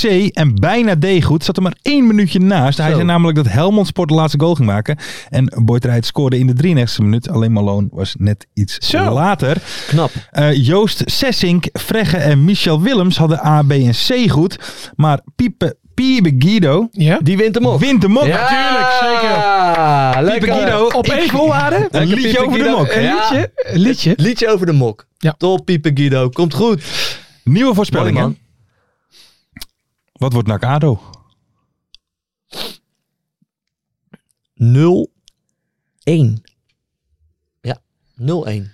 S2: C en bijna D goed. Zat er maar één minuutje naast. Hij
S4: Zo.
S2: zei namelijk dat Helmond Sport de laatste goal ging maken. En Boyd Rijt scoorde in de 93e minuut. Alleen Malone was net iets
S3: Zo.
S2: later.
S4: Knap.
S2: Eh, Joost Sessink, Fregge en Michel Willems hadden A, B en C goed. Maar Piepe, Piebe Guido,
S3: Ja?
S4: Die wint hem op.
S2: wint de mok.
S3: tuurlijk, zeker.
S4: Ja, lekker.
S2: Guido,
S3: eh, Op één voorwaarde?
S2: Een liedje over de mok.
S4: Een liedje?
S3: Een liedje?
S4: Liedje over de mok.
S3: Ja.
S4: Top, Piepe Guido. Komt goed.
S2: Nieuwe
S4: Mooi,
S2: voorspellingen.
S4: man.
S2: Wat wordt NAC ADO?
S4: 0-1. Ja, 0-1.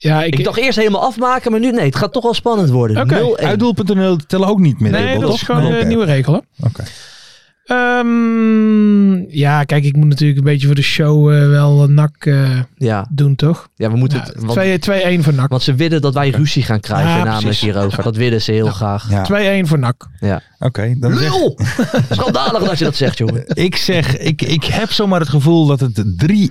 S3: Ja, ik,
S4: Ik dacht eerst helemaal afmaken, maar nu nee. Het gaat toch wel spannend worden.
S3: Oké,
S4: 0-1.
S2: Uitdoel.nl tellen ook niet meer.
S3: Nee,
S2: Rebel,
S3: dat
S2: toch?
S3: is gewoon eh,
S2: Nee,
S3: een
S2: oké.
S3: nieuwe regel. Hè?
S2: Oké.
S3: Ehm, ja, kijk, ik moet natuurlijk een beetje voor de show eh, wel een nak eh,
S4: Ja.
S3: doen, toch?
S4: ja, we moeten...
S3: Ja,
S4: het- want-
S3: 2-1 voor nak.
S4: Want ze willen dat wij ruzie gaan krijgen,
S3: Ja,
S4: namelijk
S3: precies.
S4: hierover. Dat willen ze heel graag.
S2: Ja,
S3: 2-1 voor nak.
S4: Ja.
S2: oké. dan zeg-
S4: Lul! Schandalig dat je dat zegt, jongen.
S2: ik zeg, ik, ik heb zomaar het gevoel dat het 3-3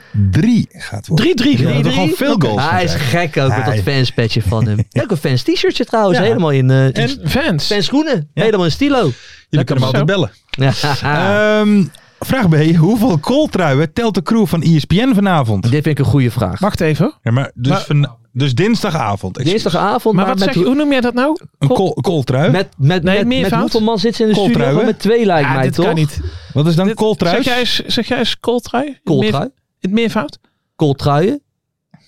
S2: gaat worden. Ja,
S3: 3-3.
S2: dat er
S3: Ja,
S2: gewoon veel goals gaan
S4: Hij is
S2: krijgen.
S4: gek ook met
S2: Hij-
S4: dat fanspetje van hem. Ook een fans t-shirtje trouwens,
S2: Ja.
S4: helemaal in, eh in
S3: en Dus fans.
S4: fanschoenen. Helemaal in stilo.
S2: Jullie kunnen me altijd bellen.
S4: Ja.
S3: Ah.
S2: Ehm, vraag B. Hoeveel kooltruien telt de crew van E ESPN vanavond?
S4: Dit vind ik een goede vraag.
S3: Wacht even.
S2: Ja, maar dus
S3: Maar-
S2: van, Dus dinsdagavond. Excuus.
S4: Dinsdagavond.
S3: Maar wat
S4: met
S3: zeg je, hoe noem jij dat nou?
S2: Een kol, kooltrui.
S4: Met, met,
S3: Nee,
S4: met, met
S3: meervoud?
S4: hoeveel man zit ze in de studio?
S2: Kooltrui,
S4: Gewoon
S2: hè?
S4: met twee lijkt mij,
S3: dit
S4: toch?
S3: kan niet.
S2: Wat is dan
S3: Dit-
S2: kooltrui?
S3: Zeg jij eens, zeg jij eens kooltrui?
S4: Kooltrui.
S3: Het meervoud?
S4: Kooltruien?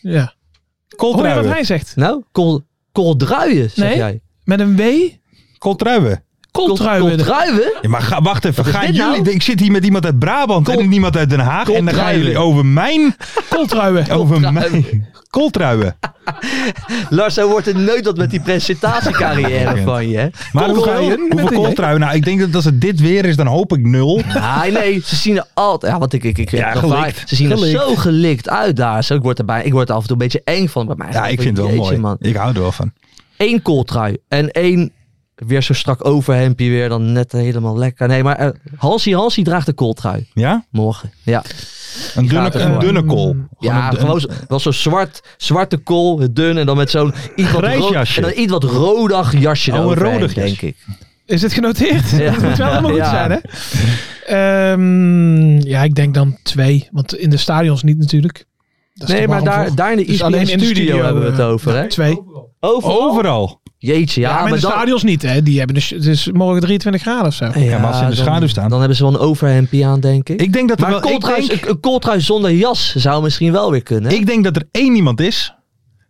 S3: Ja. Hoor je wat
S2: Kooltruien.
S3: hij zegt?
S4: Nou, kool, kooldruien, zeg
S3: Nee.
S4: jij.
S3: Met een W?
S2: Kooltruien.
S3: Kooltruien.
S4: Kooltruien?
S2: Ja, maar ga, wacht even.
S4: is
S2: Gaan
S4: dit
S2: jullie,
S4: nou?
S2: Ik zit hier met iemand uit Brabant en iemand uit Den Haag. En dan gaan
S4: Kooltruien.
S2: jullie over mijn...
S3: Kooltruien.
S2: Over mijn... Kooltruien.
S4: Lars, zo wordt het nooit dat met die presentatiecarrière van je, hè?
S2: Maar hoe ga je,
S3: Kooltruien? Met
S2: hoeveel
S3: een J.
S2: kooltruien? Nou, ik denk dat als het dit weer is, dan hoop ik nul.
S4: Ah, nee, ze zien er altijd... Ja, want ik, ik, ik
S2: Ja,
S4: ik-
S2: gelikt.
S4: Ze zien er
S2: Gelikt.
S4: zo gelikt uit daar. Zo, ik, word er bij, ik word er af en toe een beetje eng van. Bij mij.
S2: Ja, ik vind het wel
S4: Jeetje,
S2: mooi.
S4: Man.
S2: Ik hou er wel van.
S4: Eén kooltrui en één... Weer zo strak overhempje weer, dan net helemaal lekker. Nee, maar eh, Hansi Hansi draagt een kooltrui.
S2: Ja?
S4: Morgen, ja.
S2: Een
S4: gaat
S2: dunne,
S4: er
S2: een
S4: gewoon.
S2: dunne kool.
S4: Ja,
S2: een dun-
S4: gewoon zo- wel zo'n zwart, zwarte kool, dun en dan met zo'n iets wat
S2: Grijs
S4: rood-
S2: jasje.
S4: en dan iets wat rodig jasje
S2: Oh, een
S4: eroverheen,
S2: rodig jasje.
S4: denk ik.
S3: Is dit genoteerd?
S4: Ja.
S3: Dat moet wel helemaal goed
S4: Ja.
S3: zijn, hè? Ehm, ja, ik denk dan twee. Want in de stadions niet natuurlijk. Dat is
S4: nee,
S3: te
S4: maar
S3: warm
S4: daar,
S3: voor.
S4: daar in de E
S3: Dus alleen in de
S4: studio,
S3: studio,
S4: hebben we het
S3: eh,
S4: over, hè?
S3: Twee.
S4: Over.
S2: Overal.
S4: Jeetje, ja,
S3: Ja, maar in
S4: maar
S3: de
S4: dan...
S3: stadions niet, hè? Die hebben dus, het is morgen 23 graden of zo.
S2: Ja, maar als ze in de
S4: dan-
S2: schaduw staan.
S4: Dan hebben ze wel een overhempje aan, denk ik.
S2: Ik denk dat er
S4: maar een
S2: wel... Ik
S4: kooltrui,
S2: denk,
S4: een, een kooltrui zonder jas zou misschien wel weer kunnen.
S2: ik denk dat er één iemand is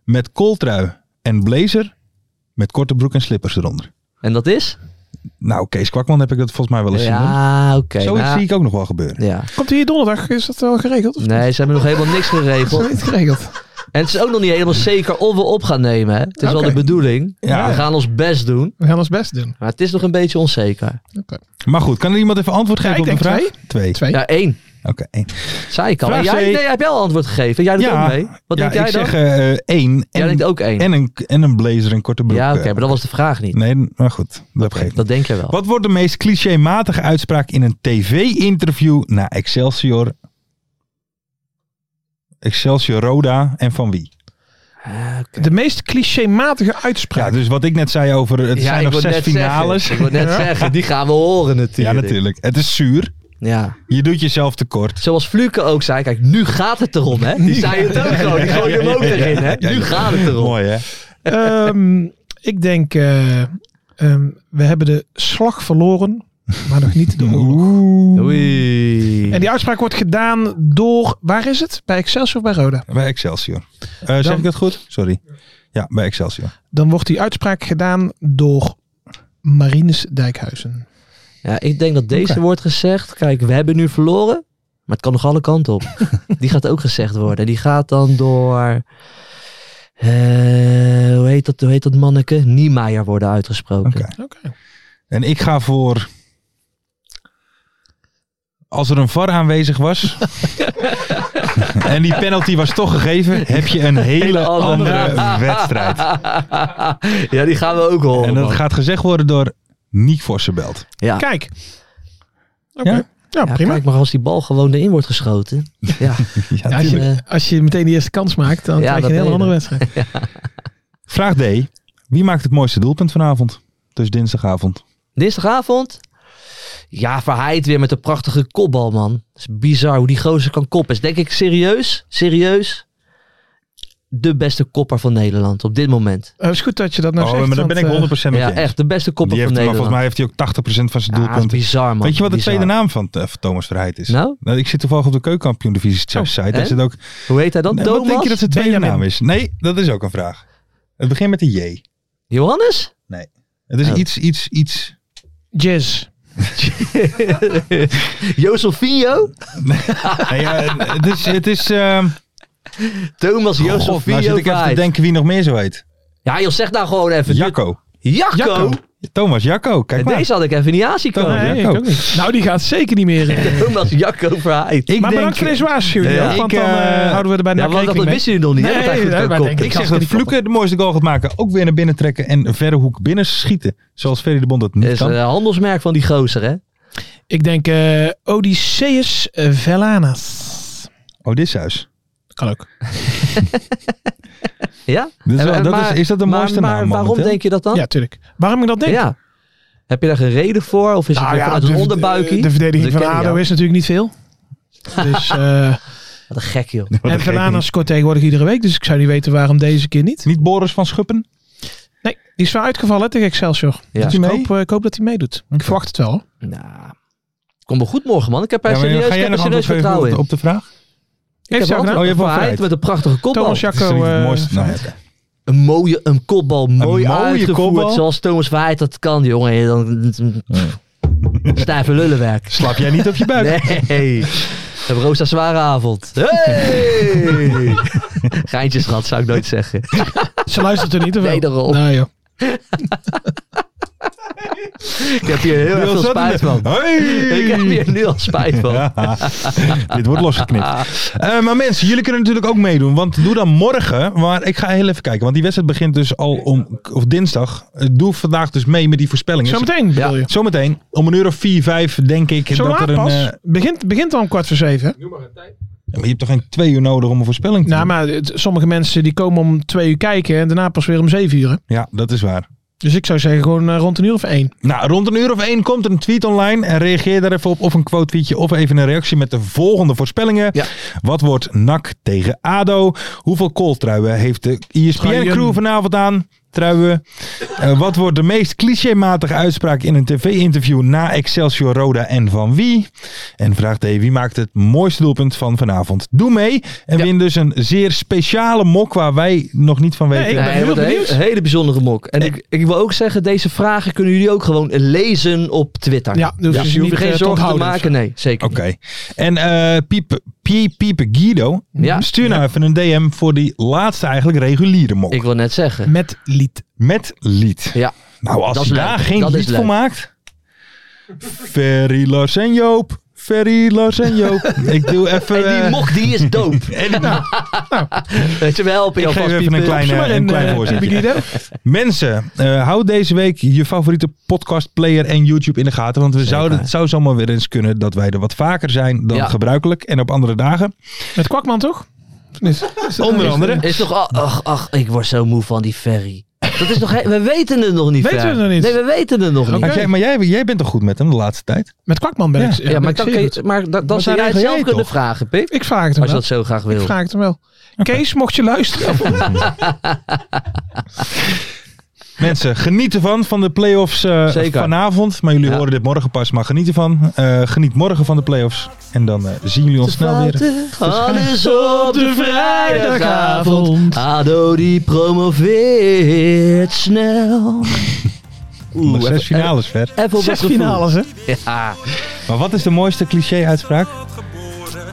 S2: met kooltrui en blazer met korte broek en slippers eronder.
S4: En dat is?
S2: Nou, Kees Kwakman heb ik dat volgens mij wel eens zien. doen.
S4: Ja, oké.
S2: Zoiets
S4: nou,
S2: zie ik ook nog wel gebeuren.
S4: Ja.
S3: Komt hij hier donderdag? Is dat wel geregeld? Of
S4: Nee, ze hebben nog helemaal niks geregeld.
S3: niet geregeld?
S4: En het is ook nog niet helemaal zeker of we op gaan nemen. Hè? Het is wel
S3: Oké.
S4: de bedoeling.
S2: Ja.
S4: We gaan ons best doen.
S3: We gaan ons best doen.
S4: Maar het is nog een beetje onzeker.
S2: Maar goed, kan er iemand even antwoord geven
S3: ik
S2: op de
S3: denk
S2: vraag?
S3: twee.
S2: Twee.
S3: Twee.
S4: Ja, één.
S2: Oké, één.
S4: Zei ik al.
S2: Vraag
S4: En jij,
S2: C.
S4: nee, jij hebt wel antwoord gegeven. Jij doet
S2: Ja.
S4: ook mee. Wat
S2: Ja,
S4: denk jij
S2: ik
S4: dan?
S2: zeg eh, eh, één
S4: jij denkt
S2: en,
S4: ook één.
S2: en, een, en een blazer en korte broek.
S4: ja, oké,
S2: eh.
S4: maar dat was de vraag niet.
S2: Nee, maar goed, dat geeft
S4: Dat denk je wel.
S2: Wat wordt de meest clichématige uitspraak in een tv-interview na Excelsior? Excelsior Roda en van wie?
S3: De meest clichématige uitspraak.
S2: Ja, dus wat ik net zei over het zijn nog
S4: wil
S2: zes
S4: net
S2: finales.
S4: Zeggen, ik wil net zeggen, die gaan we horen
S2: ja,
S4: natuurlijk.
S2: natuurlijk. Het is zuur.
S4: Ja.
S2: Je doet jezelf tekort.
S4: Zoals Fluke ook zei, kijk, nu gaat het erom, hè? Die zei het ook gewoon, die gooide hem ook erin, hè? Nu gaat het erom.
S2: Mooi, hè?
S3: Ehm, ik denk, eh, ehm, we hebben de slag verloren, maar nog niet de oorlog.
S4: Oei.
S3: En die uitspraak wordt gedaan door, waar is het? Bij Excelsior of bij Roda?
S2: Bij Excelsior. Eh, zeg
S3: Dan-
S2: ik dat goed? Sorry. Ja, bij Excelsior.
S3: Dan wordt die uitspraak gedaan door Marinus Dijkhuizen.
S4: Ja, ik denk dat deze wordt gezegd. Kijk, we hebben nu verloren, maar het kan nog alle kanten op. die gaat ook gezegd worden. En die gaat dan door... eh, hoe, heet dat, hoe heet dat manneke? Niemeyer worden uitgesproken.
S2: Oké.
S3: Oké.
S2: En ik ga voor... Als er een VAR aanwezig was en die penalty was toch gegeven, heb je een hele andere Ah. wedstrijd.
S4: ja, die gaan we ook horen.
S2: En dat
S4: man.
S2: gaat gezegd worden door Niek Vossenbelt.
S4: ja.
S3: Kijk. Oké.
S2: Ja?
S3: Ja?
S4: Ja,
S3: prima.
S4: Kijk maar als die bal gewoon erin wordt geschoten. Ja, eh,
S3: Ja, als,
S4: tuurlijk.
S3: je, als je meteen de eerste kans maakt, dan
S4: Ja,
S3: krijg je
S4: dat
S3: een
S4: ben
S3: hele
S4: je
S3: andere wedstrijd.
S2: Vraag D. Wie maakt het mooiste doelpunt vanavond? Dus
S4: Nou,
S2: dinsdagavond.
S4: dinsdagavond. Ja, Verheid weer met een prachtige kopbal, man. Het is bizar hoe die gozer kan koppen. Is denk ik serieus, serieus, de beste kopper van Nederland op dit moment.
S3: Het is goed dat je dat nou
S2: Oh,
S3: zegt.
S2: maar dan
S3: want,
S2: ben ik 100%
S3: eh,
S2: met je
S4: Ja,
S2: eens.
S4: echt, de beste
S2: Die
S4: kopper
S2: heeft,
S4: van
S2: maar
S4: Nederland.
S2: volgens mij heeft hij ook 80% van zijn
S4: Ja, het
S2: doelpunten.
S4: is bizar, man.
S2: Weet je wat de
S4: Bizar.
S2: tweede naam van, eh, van Thomas Verheid is?
S4: Nou? Oh.
S2: ik zit toevallig op de keukenkampioen divisie site. Daar
S4: hè?
S2: zit ook...
S4: Hoe heet hij dan?
S2: Nee, wat
S4: Thomas?
S2: denk je dat zijn tweede
S3: Benjamin.
S2: naam is? Nee, dat is ook een vraag. Het begint met een J.
S4: Johannes?
S2: Het is
S4: Oh.
S2: iets, iets, iets...
S3: Jazz.
S4: Josefinho?
S2: Nee, ja, het is... Het is ehm,
S4: Thomas
S2: God, nou zit
S4: Josefinho
S2: ik even te
S4: Verheid.
S2: denken wie nog meer zo heet.
S4: ja, joh, zeg nou gewoon even.
S2: Jacco.
S4: Jacco?
S3: Jacco.
S2: Thomas Jacco. Kijk
S4: En
S2: maar.
S4: Deze had ik even niet aan zien komen.
S2: Thomas
S3: Nee, ik
S2: Jacco.
S3: ook niet. Nou, die gaat zeker niet meer. eh.
S4: Thomas Jacco Verheid.
S2: Ik
S3: maar
S2: denk,
S3: bedankt voor deze waarschuwing.
S2: Ja,
S3: joh, want
S2: ik,
S3: dan eh,
S2: eh,
S3: houden we er bij
S4: ja,
S3: NAC
S4: want dat
S3: rekening mee.
S4: wisten jullie nog niet. hè,
S3: Nee,
S4: dat hij goed
S3: nee,
S4: kan
S3: wij
S4: koppen.
S3: denken-
S2: Ik zeg dat Vloeken de mooiste goal gaat maken. Oh, Ook weer naar binnen trekken en verre hoek binnen schieten. Zoals Ferry de Bond dat
S4: Dat
S2: niet
S4: is een
S6: eh,
S2: kan.
S4: handelsmerk van die gozer, hè?
S3: Ik denk eh Odysseus eh, Velanas.
S2: Odysseus.
S3: Kan ook.
S4: Ja?
S2: Dat
S6: Eh,
S2: is, wel-
S4: En-
S2: dat
S4: maar-
S2: is, is dat de
S4: maar-
S2: mooiste
S4: maar,
S2: naam
S4: waarom
S2: momenteel?
S4: denk je dat dan?
S3: Ja, tuurlijk. Waarom ik dat denk?
S4: Ja. Heb je daar geen reden voor? Of is
S3: Nou
S4: het weer
S3: ja,
S4: vanuit een onderbuikje?
S3: De verdediging
S4: We
S3: van
S4: kennen
S3: ADO
S4: jou.
S3: is natuurlijk niet veel. Dus eh,
S6: Wat een gek joh.
S2: Wat
S3: En
S2: een gek
S3: Verlana
S2: niet.
S3: scoort tegenwoordig iedere week. Dus ik zou niet weten waarom deze keer niet.
S2: Niet Boris van Schuppen?
S3: Nee, die is wel uitgevallen hè, tegen Excelsior.
S6: Ja.
S3: Dus ik
S2: Mee?
S3: hoop, eh, ik hoop dat hij meedoet. Ik verwacht het wel.
S6: Nou, kom wel goed morgen man. Ik heb er
S2: Ja, maar
S6: serieus,
S2: ga
S6: ik
S2: jij
S6: heb er
S2: nog
S6: serieus
S2: antwoord geven op
S6: vertrouwen
S2: de,
S6: in.
S2: op de vraag?
S6: Ik heb
S3: Heeft hij
S6: wel
S3: gedaan?
S2: Oh, je hebt wel
S6: verheid
S2: verheid.
S6: met een prachtige kopbal.
S3: Thomas
S2: Dat is toch
S3: Jacco.
S2: niet het
S3: eh,
S2: mooiste? Nou, ja.
S6: Een mooie een kopbal, mooi
S2: mooie
S6: uitgevoerd.
S2: kopbal?
S6: Zoals Thomas Waait dat kan, jongen. Dan, stijve lullenwerk.
S2: Slap jij niet op je buik?
S6: Nee. We hebben Roos een zware avond. Hey! Geintjes gehad, zou ik nooit zeggen.
S3: Ze luistert er niet of wel?
S6: Nee, daarom.
S3: Nou, joh.
S6: Ik heb hier heel
S2: Die
S6: erg veel
S2: was dat
S6: spijt
S2: niet.
S6: van. Ik heb
S2: Hey!
S6: hier nu al spijt van.
S2: Ja, dit wordt losgeknipt. Eh, maar mensen, jullie kunnen natuurlijk ook meedoen. Want doe dan morgen. Maar ik ga heel even kijken. Want die wedstrijd begint dus al om. Of dinsdag. Eh, Doe vandaag dus mee met die voorspellingen.
S3: Zometeen bedoel je.
S2: Zometeen, om een uur of vier, vijf, denk ik.
S3: Zo
S2: dat
S3: laat
S2: er een,
S3: pas.
S2: eh,
S3: Begint, begint al om kwart voor zeven. hè?
S2: maar je hebt toch geen twee uur nodig om een voorspelling te
S3: Nou,
S2: doen?
S3: maar het- sommige mensen die komen om twee uur kijken en daarna pas weer om zeven uur. hè?
S2: Ja, dat is waar.
S3: Dus ik zou zeggen gewoon eh, rond een uur of één.
S2: Nou, rond een uur of één komt een tweet online. En reageer daar even op. Of een quote tweetje. Of even een reactie met de volgende voorspellingen.
S6: Ja.
S2: Wat wordt NAC tegen ADO? Hoeveel kooltruien heeft de E ESPN-crew
S3: Truien.
S2: vanavond aan? Truien. Eh, wat wordt de meest clichématige uitspraak in een tv-interview na Excelsior Roda en van wie? En vraag D, wie maakt het mooiste doelpunt van vanavond? Doe mee en
S6: Ja.
S2: win dus een zeer speciale mok waar wij nog niet van weten.
S3: Nee, ik ben heel
S6: wat een
S3: benieuwd.
S6: he- hele bijzondere mok. En ik, ik wil ook zeggen, deze vragen kunnen jullie ook gewoon lezen op Twitter.
S3: Ja, dus je
S6: je
S3: niet,
S6: hoeft je
S3: eh,
S6: geen
S3: te
S6: zorgen te
S3: onthouden of
S6: maken. Nee, zeker.
S2: Oké. En eh Piep, Piep, Piep Guido,
S6: Ja.
S2: stuur nou even een DM voor die laatste eigenlijk reguliere mok.
S6: Ik wil net zeggen.
S3: Met lied.
S2: Met lied.
S6: Ja,
S2: Nou, als
S6: Dat
S2: je
S6: is
S2: daar
S6: leuk.
S2: geen
S6: Dat is
S2: lied voor
S6: leuk.
S2: maakt. Ferry, Lars en Joop. Ferry, Lars en Joop. Ik doe even...
S6: en die
S2: eh,
S6: mok die is doop. Weet je, we helpen
S2: Ik
S6: jou
S2: geef
S6: vast,
S2: even
S6: Pieper.
S2: een klein, eh, een klein voorzetje. Mensen, eh, hou deze week je favoriete podcast player en YouTube in de gaten. Want we zouden, het zou zomaar weer eens kunnen dat wij er wat vaker zijn dan
S6: Ja.
S2: gebruikelijk. En op andere dagen.
S3: Met Kwakman toch? Of niet? Is dat-
S2: Onder andere.
S6: Is toch, ach, ach, ach, ik word zo moe van die ferry. Dat is nog, he- we weten het nog niet.
S3: Weten we
S6: Fer.
S3: het nog niet?
S6: Nee, we weten het nog niet.
S2: Maar jij- maar jij, jij bent toch goed met hem de laatste tijd?
S3: Met Kwakman ben
S2: Ja.
S3: ik.
S6: Ja,
S3: ben
S6: maar
S3: ik
S6: dan,
S3: zeer
S6: kun je-
S3: goed.
S6: maar dan, dan
S2: Wat
S6: zou jij het
S2: regel
S6: zelf
S2: jij
S6: kunnen
S2: toch?
S6: vragen, Pip.
S3: Ik vraag het hem
S6: Als je
S3: wel.
S6: dat zo graag
S3: Ik
S6: wil.
S3: vraag het hem wel. Kees, mocht je luisteren.
S2: Mensen, geniet ervan van de play-offs eh,
S6: Zeker.
S2: vanavond. Maar jullie
S6: Ja.
S2: horen dit morgen pas, maar geniet ervan. Eh, geniet morgen van de play-offs. En dan eh, zien jullie ons snel weer.
S6: Alles op de vrijdagavond. Ado die promoveert snel.
S2: Nog zes
S6: even-
S2: finales ver.
S6: Even op het
S3: Zes
S6: gevoel.
S3: finales, hè?
S6: Ja.
S2: Maar wat is de mooiste cliché-uitspraak?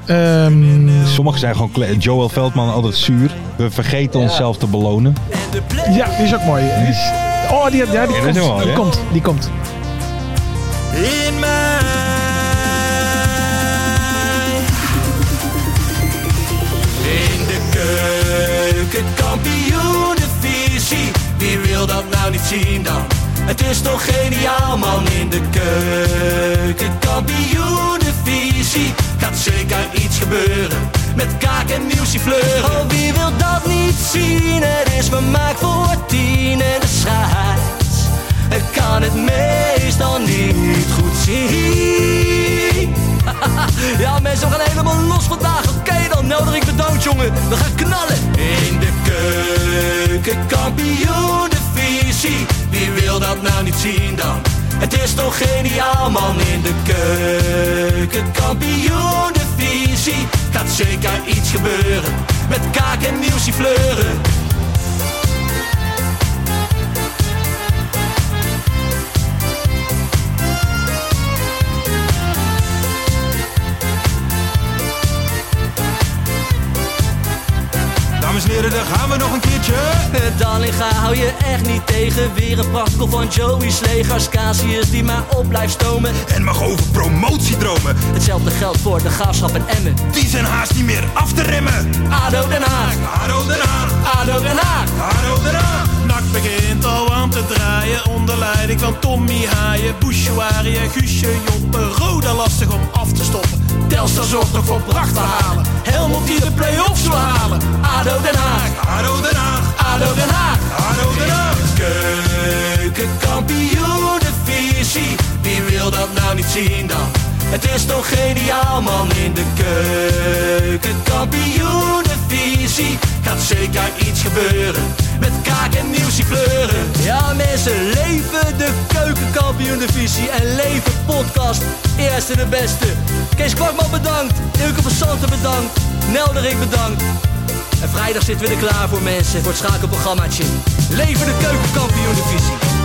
S3: Ehm,
S2: Sommigen zijn gewoon kle- Joel Veldman altijd zuur. We vergeten onszelf te belonen.
S3: ja, die is ook mooi. Die is- oh, die, ja, die,
S2: dat is
S3: komt,
S2: hem al,
S3: die
S2: hè?
S3: komt. Die komt.
S4: in mij. In de keuken, kampioenenvisie. Wie wil dat nou niet zien dan? Het is toch geniaal man in de keuken, kampioenenvisie. Gaat zeker iets gebeuren met kaak en muziek fleuren. Oh, wie wil dat niet zien? Het is vermaakt voor tien en de scheids. Ik kan het meestal niet goed zien. Ja, mensen, we gaan helemaal los vandaag. Oké, dan nodig ik bedankt, jongen. We gaan knallen. In de keuken, kampioen, de visie. Wie wil dat nou niet zien dan? Het is toch geniaal, man. In de keuken, kampioen, de visie. Gaat zeker iets gebeuren. Met kaak en nieuwsie fleuren.
S7: Dames en heren, daar gaan we nog een keertje.
S4: Dallinga Eh, hou je echt niet tegen. Weer een prachtkel van Joey's legers. Casius die maar op blijft stomen.
S7: En mag over promotiedromen.
S4: Hetzelfde geldt voor de graafschap en Emmen.
S7: Die zijn haast niet meer af te remmen.
S4: ADO Den Haag,
S7: Haro eraan,
S4: ADO Den Haag.
S7: haro eraan.
S4: Nak begint al aan te draaien onder leiding van Tommy Haaien, Bouchouari en Guusje Joppen. Roda lastig om af te stoppen. Telstar zorgt nog voor pracht te halen. Helmond die de play-offs wil halen. ADO Den Haag, ADO Den Haag, ADO Den Haag, ADO Den Haag. Keukenkampioenenvisie, wie wil dat nou niet zien dan? Het is toch geniaal man in de keuken. Kampioenenvisie. Gaat zeker iets gebeuren. Met kaak en nieuwsie fleuren. Ja mensen, leven de keukenkampioenenvisie. En leven podcast. Eerste de beste. Kees Kwakman bedankt. Ilke van Santen bedankt. Nelderik bedankt. En vrijdag zitten we er klaar voor mensen. Voor het schakelprogrammaatje. Leven de keukenkampioenenvisie.